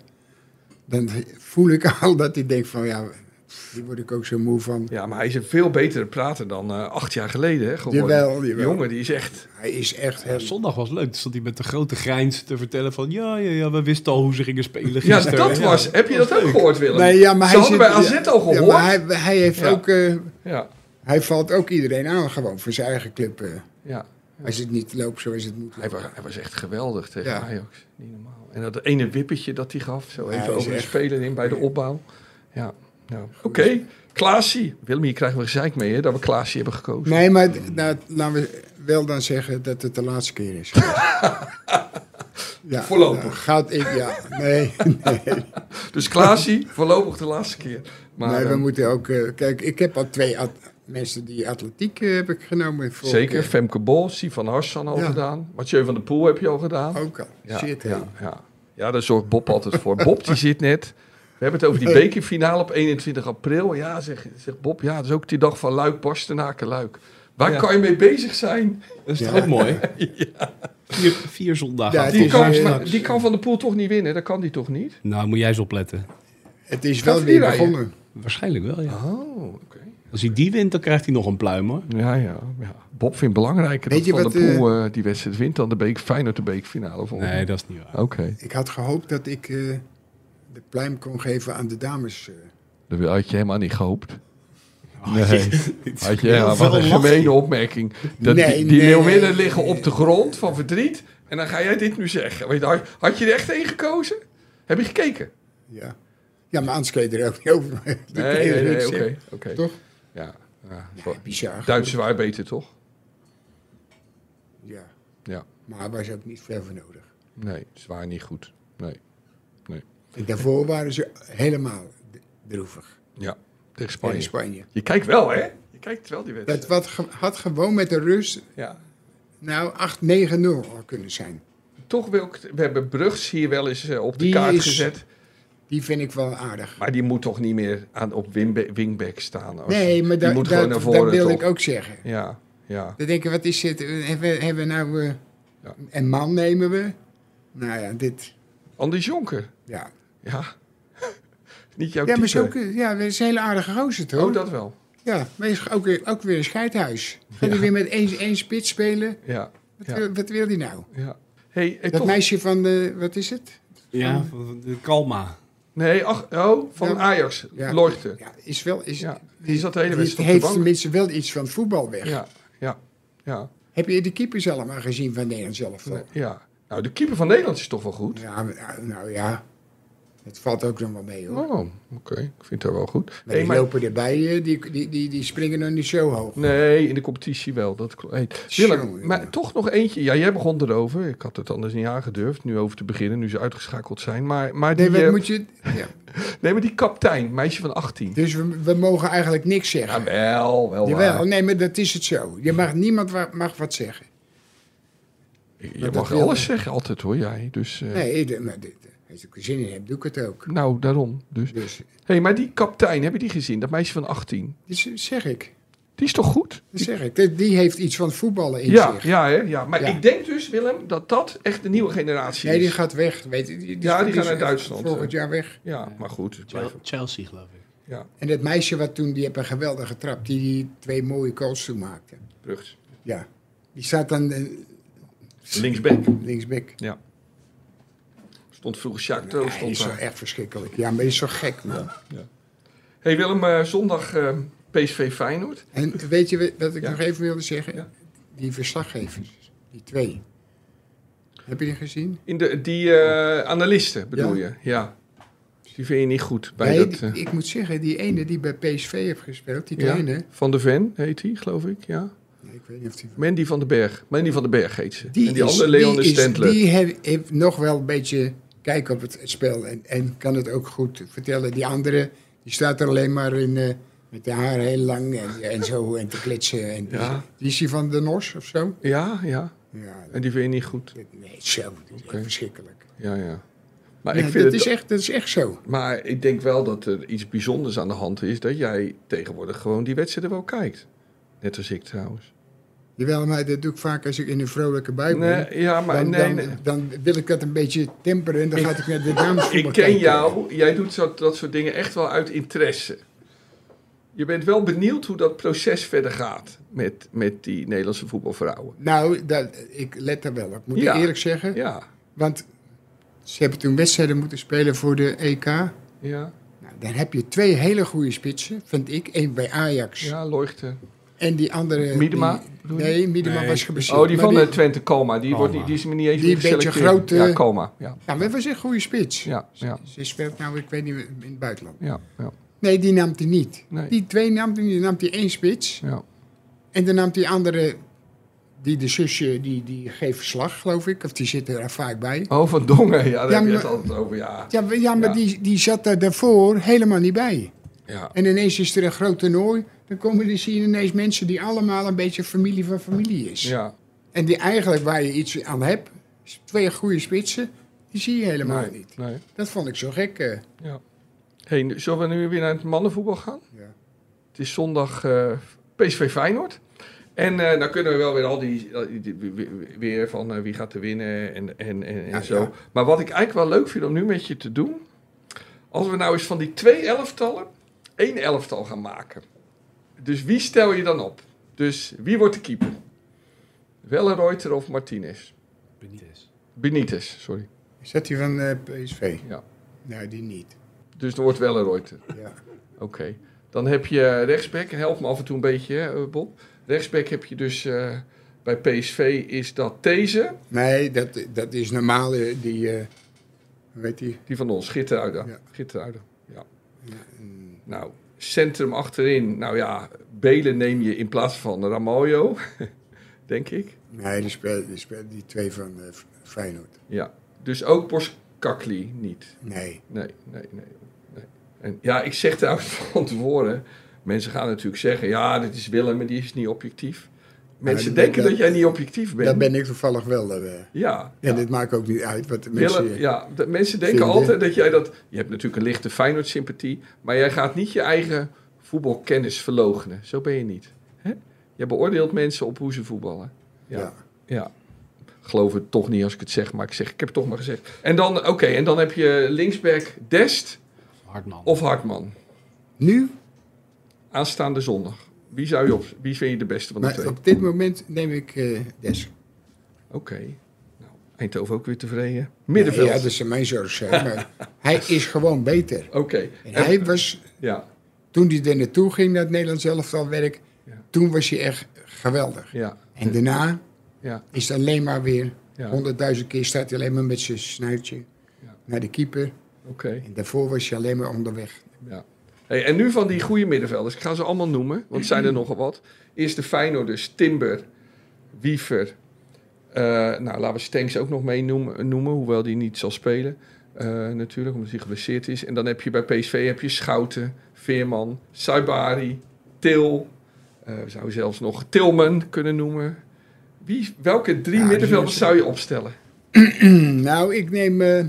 Speaker 2: dan voel ik al dat hij denkt van ja, hier word ik ook zo moe van.
Speaker 1: Ja, maar hij is een veel betere prater dan eh, acht jaar geleden. Hè, geworden.
Speaker 2: Jawel, jawel.
Speaker 1: Jongen, die is echt...
Speaker 2: Hij is echt
Speaker 4: Ja,
Speaker 2: heel...
Speaker 4: zondag was leuk. Toen stond hij met de grote grijns te vertellen van... Ja, ja, ja, we wisten al hoe ze gingen spelen
Speaker 1: Ja,
Speaker 4: gisteren.
Speaker 1: dat was... Heb je dat ook gehoord, Willem?
Speaker 2: Nee, ja, maar
Speaker 1: Ze
Speaker 2: hij
Speaker 1: hadden bij AZ
Speaker 2: ja,
Speaker 1: al
Speaker 2: ja,
Speaker 1: gehoord.
Speaker 2: maar hij, hij, heeft
Speaker 1: Ja.
Speaker 2: ook, eh,
Speaker 1: Ja,
Speaker 2: hij valt ook iedereen aan gewoon voor zijn eigen club. eh.
Speaker 1: ja.
Speaker 2: als het niet loopt zoals het moet
Speaker 1: Hij, was, hij was echt geweldig tegen
Speaker 2: Ja.
Speaker 1: Ajax. Niet normaal. En dat ene wippetje dat hij gaf, zo
Speaker 2: Ja,
Speaker 1: even
Speaker 2: hij is
Speaker 1: over de
Speaker 2: echt-
Speaker 1: speler in bij de opbouw. Ja, ja. oké. Klaasie. Willem, hier krijgen we gezeik mee, hè, dat we Klaasie hebben gekozen.
Speaker 2: Nee, maar d- nou, laten we wel dan zeggen dat het de laatste keer is. ja,
Speaker 1: Voorlopig.
Speaker 2: nou, gaat ik, ja. Nee, nee.
Speaker 1: Dus Klaasie, voorlopig de laatste keer. Maar,
Speaker 2: nee, we
Speaker 1: eh,
Speaker 2: moeten ook... eh, kijk, ik heb al twee at- mensen die atletiek eh, heb ik genomen. vorige
Speaker 1: zeker,
Speaker 2: keer.
Speaker 1: Femke Bol, Sivan Hassan al
Speaker 2: Ja.
Speaker 1: gedaan. Mathieu van der Poel heb je al gedaan.
Speaker 2: Ook al. Shit, hè.
Speaker 1: ja, ja. ja, daar zorgt Bob altijd voor. Bob die zit net. We hebben het over die bekerfinale op 21 april. Ja, zegt zeg Bob, ja, dat is ook die dag van Luik, Barstenaken, Luik. Waar
Speaker 4: Ja.
Speaker 1: kan je mee bezig zijn?
Speaker 4: Dat is
Speaker 2: Ja.
Speaker 4: toch ook mooi? Vier, vier zondagen.
Speaker 2: Ja,
Speaker 4: achter
Speaker 1: Die
Speaker 2: is
Speaker 4: elkaar
Speaker 1: kan,
Speaker 2: waar,
Speaker 1: maar
Speaker 4: straks.
Speaker 1: die kan Van de Poel toch niet winnen? Dat kan die toch niet?
Speaker 4: Nou, moet jij eens opletten.
Speaker 2: Het is
Speaker 1: Gaat
Speaker 2: wel
Speaker 1: die
Speaker 2: weer
Speaker 1: rijden?
Speaker 2: begonnen.
Speaker 4: Waarschijnlijk wel, ja.
Speaker 1: Oh, oké.
Speaker 4: Als hij die wint, dan krijgt hij nog een pluim, hoor.
Speaker 1: Ja, ja, ja. Bob vindt het belangrijker
Speaker 2: Weet
Speaker 1: dat
Speaker 2: je
Speaker 1: Van
Speaker 2: wat,
Speaker 1: der Poel eh, die wedstrijd wint dan de beek, Feyenoord de beekfinale volgende.
Speaker 4: Nee, dat is niet waar.
Speaker 1: Oké,
Speaker 2: Ik had gehoopt dat ik eh, de pluim kon geven aan de dames. eh.
Speaker 1: dat had je helemaal niet gehoopt. Nee. Had je,
Speaker 7: heel
Speaker 1: wat
Speaker 7: veel
Speaker 1: een
Speaker 7: lachen.
Speaker 1: gemene opmerking. Dat
Speaker 2: Nee,
Speaker 1: die die
Speaker 2: nee,
Speaker 1: leeuwinnen
Speaker 2: nee,
Speaker 1: liggen
Speaker 2: nee.
Speaker 1: op de grond van verdriet. En dan ga jij dit nu zeggen. Weet je, Had, had je er echt één gekozen? Heb je gekeken?
Speaker 2: Ja. ja, maar anders kun je er ook niet over. Dan kun je
Speaker 1: Nee, nee,
Speaker 2: er
Speaker 1: nee,
Speaker 2: niks
Speaker 1: oké.
Speaker 2: zeggen.
Speaker 1: oké.
Speaker 2: Toch?
Speaker 1: Ja. ja.
Speaker 2: Bizar.
Speaker 1: Duitse waren beter, toch?
Speaker 2: Ja.
Speaker 1: Ja.
Speaker 2: Maar er was ook niet veel voor nodig.
Speaker 1: Nee, ze waren niet goed. Nee.
Speaker 2: En daarvoor waren ze helemaal d- droevig.
Speaker 1: Ja, tegen Spanje.
Speaker 2: Tegen Spanje.
Speaker 1: Je kijkt wel, hè? Je kijkt wel die wedstrijd.
Speaker 2: Dat wat ge- had gewoon met de Rus
Speaker 1: Ja.
Speaker 2: nou 8-9-0 al kunnen zijn.
Speaker 1: Toch wil ik... We hebben Brugs hier wel eens eh, op de
Speaker 2: Die
Speaker 1: kaart
Speaker 2: is-
Speaker 1: gezet.
Speaker 2: Die vind ik wel aardig.
Speaker 1: Maar die moet toch niet meer aan, op wingba- wingback staan? Als,
Speaker 2: nee, maar
Speaker 1: die
Speaker 2: da,
Speaker 1: moet
Speaker 2: da-
Speaker 1: gewoon naar
Speaker 2: dat
Speaker 1: voren,
Speaker 2: wil
Speaker 1: toch?
Speaker 2: ik ook zeggen.
Speaker 1: Ja, ja.
Speaker 2: Dan denk ik, wat is dit? Hebben, we- hebben we nou eh,
Speaker 1: Ja.
Speaker 2: een man nemen we? Nou ja, dit.
Speaker 1: Anders Jonker.
Speaker 2: Ja,
Speaker 1: Ja. niet jouw
Speaker 2: ja maar
Speaker 1: type.
Speaker 2: zo, kun- ja, dat is een hele aardige gozer toch?
Speaker 1: Oh, dat wel.
Speaker 2: Ja, maar is ook weer, ook weer een scheidhuis. Gaat hij weer met één, één spits spelen?
Speaker 1: Ja,
Speaker 2: Wat,
Speaker 1: Ja.
Speaker 2: wil, wat wil die nou?
Speaker 1: ja. Hey, eh,
Speaker 2: Dat
Speaker 1: toch...
Speaker 2: meisje van de, wat is het?
Speaker 4: Ja, van de Kalma.
Speaker 1: Nee, ach, oh, van
Speaker 2: Ja.
Speaker 1: Ajax.
Speaker 2: Ja.
Speaker 1: Leuchten.
Speaker 2: Ja, is wel, is,
Speaker 1: Ja. Die zat de hele
Speaker 2: die
Speaker 1: wedstrijd op de
Speaker 2: heeft
Speaker 1: bank.
Speaker 2: tenminste wel iets van voetbal weg.
Speaker 1: Ja, ja, ja.
Speaker 2: Heb je de keepers allemaal gezien van Nederland zelf?
Speaker 1: Nee, ja. Nou, de keeper van Nederland is toch wel goed.
Speaker 2: Ja, maar, nou ja, het valt ook nog wel mee hoor.
Speaker 1: Oh, oké. Ik vind dat wel goed.
Speaker 2: Maar
Speaker 1: Hey,
Speaker 2: die
Speaker 1: maar-
Speaker 2: lopen erbij, eh, die, die, die, die springen dan niet zo hoog.
Speaker 1: Nee, in de competitie wel. Dat klopt. Hey,
Speaker 2: Tjonge,
Speaker 1: Willem, maar
Speaker 2: jonge.
Speaker 1: toch nog eentje. Ja, jij begon erover. Ik had het anders niet aangedurfd, nu over te beginnen, nu ze uitgeschakeld zijn. Maar, maar, die,
Speaker 2: Nee, wat
Speaker 1: eh,
Speaker 2: moet je, ja.
Speaker 1: nee, maar die kaptein, meisje van 18.
Speaker 2: Dus we, we mogen eigenlijk niks zeggen.
Speaker 1: Ja, wel, wel
Speaker 2: Jawel,
Speaker 1: waar.
Speaker 2: nee, maar dat is het zo. Je mag, niemand wa- mag wat zeggen.
Speaker 1: Je
Speaker 2: dat
Speaker 1: mag
Speaker 2: wil-
Speaker 1: alles zeggen altijd hoor, jij. Dus, eh,
Speaker 2: Nee, de- maar dit, eh, als ik er zin in heb, doe ik het ook.
Speaker 1: Nou, daarom. Dus.
Speaker 2: Dus
Speaker 1: hey, maar die kaptein, heb je die gezien? Dat meisje van 18.
Speaker 2: dat dus, eh, zeg ik.
Speaker 1: Die is toch goed?
Speaker 2: Dat zeg ik. Die- Die heeft iets van voetballen in
Speaker 1: Ja,
Speaker 2: zich.
Speaker 1: ja, hè? ja. Maar
Speaker 2: Ja.
Speaker 1: ik denk dus, Willem, dat dat echt de nieuwe generatie
Speaker 2: Nee, die
Speaker 1: is.
Speaker 2: gaat weg. Weet je, die,
Speaker 1: Ja, die
Speaker 2: is
Speaker 1: gaan naar Duitsland,
Speaker 2: Volgend
Speaker 1: hè.
Speaker 2: jaar weg.
Speaker 1: Ja, maar goed. het blijft-
Speaker 5: Chelsea, geloof ik.
Speaker 1: Ja,
Speaker 2: En dat meisje wat toen, die heeft een geweldige trap. Die, die twee mooie goals toen maakte.
Speaker 1: Brugs.
Speaker 2: Ja. Die staat dan eh,
Speaker 1: Linksback.
Speaker 2: linksback.
Speaker 1: Stond vroeger Sjaak Toos.
Speaker 2: Hij
Speaker 1: stond
Speaker 2: is zo
Speaker 1: daar.
Speaker 2: echt verschrikkelijk. Ja, maar die is zo gek, man.
Speaker 1: Hey Willem, eh, zondag eh, PSV Feyenoord.
Speaker 2: En weet je wat ik
Speaker 1: Ja.
Speaker 2: nog even wilde zeggen?
Speaker 1: Ja.
Speaker 2: Die verslaggevers, die twee. Heb je die gezien?
Speaker 1: In de, die eh, analisten bedoel
Speaker 2: Ja.
Speaker 1: je? Ja. Die vind je niet goed bij
Speaker 2: nee,
Speaker 1: dat...
Speaker 2: die-
Speaker 1: eh,
Speaker 2: ik moet zeggen, die ene die bij PSV heeft gespeeld, die
Speaker 1: ja,
Speaker 2: kleine.
Speaker 1: Van de Ven heet hij, geloof ik. Ja.
Speaker 2: Nee, ik weet niet of die...
Speaker 1: Mandy van den Berg. Mandy van den Berg heet ze. en die
Speaker 2: is-
Speaker 1: andere Leon
Speaker 2: die is-
Speaker 1: Stendler.
Speaker 2: Die heeft, heeft nog wel een beetje kijk op het spel en, en kan het ook goed vertellen. Die andere, die staat er alleen maar in, eh, met de haar heel lang en, en zo en te klitsen. En die-
Speaker 1: Ja.
Speaker 2: Die is die van de Nos of zo?
Speaker 1: Ja, ja.
Speaker 2: Ja,
Speaker 1: En die vind je niet goed.
Speaker 2: dat- nee, zo. Dat is echt
Speaker 1: Oké.
Speaker 2: verschrikkelijk.
Speaker 1: Ja, ja. Maar,
Speaker 2: Nee,
Speaker 1: ik vind
Speaker 2: dat,
Speaker 1: het,
Speaker 2: is echt, dat is echt zo.
Speaker 1: maar ik denk wel dat er iets bijzonders aan de hand is... dat jij tegenwoordig gewoon die wedstrijden wel kijkt. Net als ik trouwens.
Speaker 2: Jawel, maar dat doe ik vaak als ik in een vrolijke bui ben.
Speaker 1: Nee, ja, maar
Speaker 2: dan,
Speaker 1: nee,
Speaker 2: dan,
Speaker 1: nee.
Speaker 2: dan wil ik dat een beetje temperen en dan ga ik naar de dames
Speaker 1: Ik ken jou. Jij doet zo, dat soort dingen echt wel uit interesse. Je bent wel benieuwd hoe dat proces verder gaat met, met die Nederlandse voetbalvrouwen.
Speaker 2: Nou, dat, ik let daar wel op, moet
Speaker 1: Ja.
Speaker 2: ik eerlijk zeggen.
Speaker 1: Ja,
Speaker 2: Want ze hebben toen wedstrijden moeten spelen voor de EK. Nou,
Speaker 1: ja,
Speaker 2: dan heb je twee hele goede spitsen, vind ik. Eén bij Ajax
Speaker 1: ja, Leuchten.
Speaker 2: en die andere...
Speaker 1: Miedema,
Speaker 2: die-
Speaker 1: bedoel je?
Speaker 2: nee, Miedema
Speaker 4: Nee.
Speaker 2: was geblesseerd.
Speaker 1: Oh, die
Speaker 2: Maar
Speaker 1: van de Twente Coma. Die, wordt,
Speaker 4: Coma.
Speaker 1: niet- die is me niet eens
Speaker 2: Die
Speaker 1: meer
Speaker 2: beetje
Speaker 1: geselecteerd.
Speaker 2: grote-
Speaker 1: Ja, Coma. Ja,
Speaker 2: Ja, maar was een goede spits.
Speaker 1: ja, ja,
Speaker 2: Ze speelt nou, ik weet niet, in het buitenland.
Speaker 1: ja, ja.
Speaker 2: Nee, die nam hij niet.
Speaker 1: Nee.
Speaker 2: Die twee nam hij niet. Die nam hij één spits.
Speaker 1: ja.
Speaker 2: En dan nam die andere... Die de zusje, die, die geeft verslag, geloof ik. Of die zit er vaak bij.
Speaker 1: Oh, van Dongen. Ja, daar
Speaker 2: Ja,
Speaker 1: heb je
Speaker 2: maar-
Speaker 1: het altijd over. Ja,
Speaker 2: Ja, maar- ja maar
Speaker 1: Ja.
Speaker 2: Die, die zat daar daarvoor helemaal niet bij.
Speaker 1: ja.
Speaker 2: En ineens is er een groot toernooi. Dan komen er, zie je ineens mensen die allemaal een beetje familie van familie is.
Speaker 1: ja.
Speaker 2: En die eigenlijk waar je iets aan hebt, is twee goede spitsen, die zie je helemaal
Speaker 1: Nee,
Speaker 2: niet.
Speaker 1: nee.
Speaker 2: Dat vond ik zo gek. eh.
Speaker 1: Hey, nu- zullen we nu weer naar het mannenvoetbal gaan?
Speaker 2: Ja.
Speaker 1: Het is zondag eh, PSV Feyenoord. En eh, dan kunnen we wel weer al die, al die- die- weer- weer van eh, wie gaat er winnen en, en, en, en
Speaker 2: Ja,
Speaker 1: zo.
Speaker 2: ja.
Speaker 1: Maar wat ik eigenlijk wel leuk vind om nu met je te doen, als we nou eens van die twee elftallen één elftal gaan maken. Dus wie stel je dan op? Dus wie wordt de keeper? Wellenreuter of Martinez?
Speaker 4: Benitez.
Speaker 1: Benitez, sorry.
Speaker 2: Is dat die van eh, PSV?
Speaker 1: Ja.
Speaker 2: Nee, die niet.
Speaker 1: Dus dan wordt Wellenreuter.
Speaker 2: Ja.
Speaker 1: Oké. Dan heb je eh, rechtsback, help me af en toe een beetje, hè, eh, Bob. Rechtsback heb je dus eh, bij PSV is dat deze,
Speaker 2: Nee, dat, dat is normaal. eh, Die, eh, hoe weet die?
Speaker 1: die van ons, Gitteruiden.
Speaker 2: Ja.
Speaker 1: Gitteruiden, ja. Nou, centrum achterin, nou ja, Belen neem je in plaats van Ramaljo, denk ik.
Speaker 2: Nee, die speelt die, speelt die twee van eh, F- Feyenoord.
Speaker 1: Ja, dus ook Boskakli niet.
Speaker 2: Nee.
Speaker 1: Nee, nee, nee. nee. En ja, ik zeg trouwens van tevoren... Mensen gaan natuurlijk zeggen... Ja, dit is Willem en die is niet objectief. Mensen
Speaker 2: dat-
Speaker 1: denken dat,
Speaker 2: dat-
Speaker 1: jij niet objectief bent.
Speaker 2: Dat ben ik toevallig wel. eh,
Speaker 1: Ja.
Speaker 2: En
Speaker 1: ja.
Speaker 2: dit maakt ook niet uit wat de mensen...
Speaker 1: Willem, ja, de mensen denken
Speaker 2: vinden-
Speaker 1: altijd dat jij dat... Je hebt natuurlijk een lichte Feyenoord-sympathie... maar jij gaat niet je eigen voetbalkennis verlogenen. Zo ben je niet. Hè? Je beoordeelt mensen op hoe ze voetballen. Ja.
Speaker 2: Ja.
Speaker 1: ja. Geloof het toch niet als ik het zeg, maar ik, zeg, ik heb het toch maar gezegd. En dan, oké, en dan heb je linksback Dest
Speaker 5: Hartman.
Speaker 1: of Hartman.
Speaker 2: Nu,
Speaker 1: Aanstaande zondag. Wie zou je op? Wie vind je de beste van de
Speaker 2: maar
Speaker 1: twee? Oké.
Speaker 2: op dit moment neem ik eh, Des.
Speaker 1: Nou, Eindhoven ook weer tevreden.
Speaker 2: Ja, dus-
Speaker 1: Middenveld.
Speaker 2: dat is mijn zorg. hè, maar hij is gewoon beter.
Speaker 1: Oké.
Speaker 2: En
Speaker 1: En-
Speaker 2: hij was,
Speaker 1: Ja,
Speaker 2: toen hij er naartoe ging, naar het Nederlands elftal werk,
Speaker 1: Ja.
Speaker 2: toen was hij echt geweldig.
Speaker 1: ja,
Speaker 2: En daarna
Speaker 1: ja,
Speaker 2: is het alleen maar weer,
Speaker 1: ja. Oké.
Speaker 2: honderdduizend keer staat hij alleen maar met zijn snuitje
Speaker 1: Ja.
Speaker 2: naar de keeper. En daarvoor was hij alleen maar onderweg.
Speaker 1: Ja. Hey, en nu van die goede middenvelders. Ik ga ze allemaal noemen, want het zijn
Speaker 2: Mhm.
Speaker 1: er nogal wat. Is de Feyenoord dus Timber, Wiever. eh, nou, laten we Stenks ook nog mee noemen, noemen hoewel die niet zal spelen. eh, natuurlijk, omdat hij geblesseerd is. En dan heb je bij PSV heb je Schouten, Veerman, Saibari, Til. eh, we zouden zelfs nog Tilman kunnen noemen. Wie, welke drie
Speaker 2: Ja, die
Speaker 1: middenvelders
Speaker 2: is-
Speaker 1: zou je opstellen?
Speaker 2: nou, ik neem, eh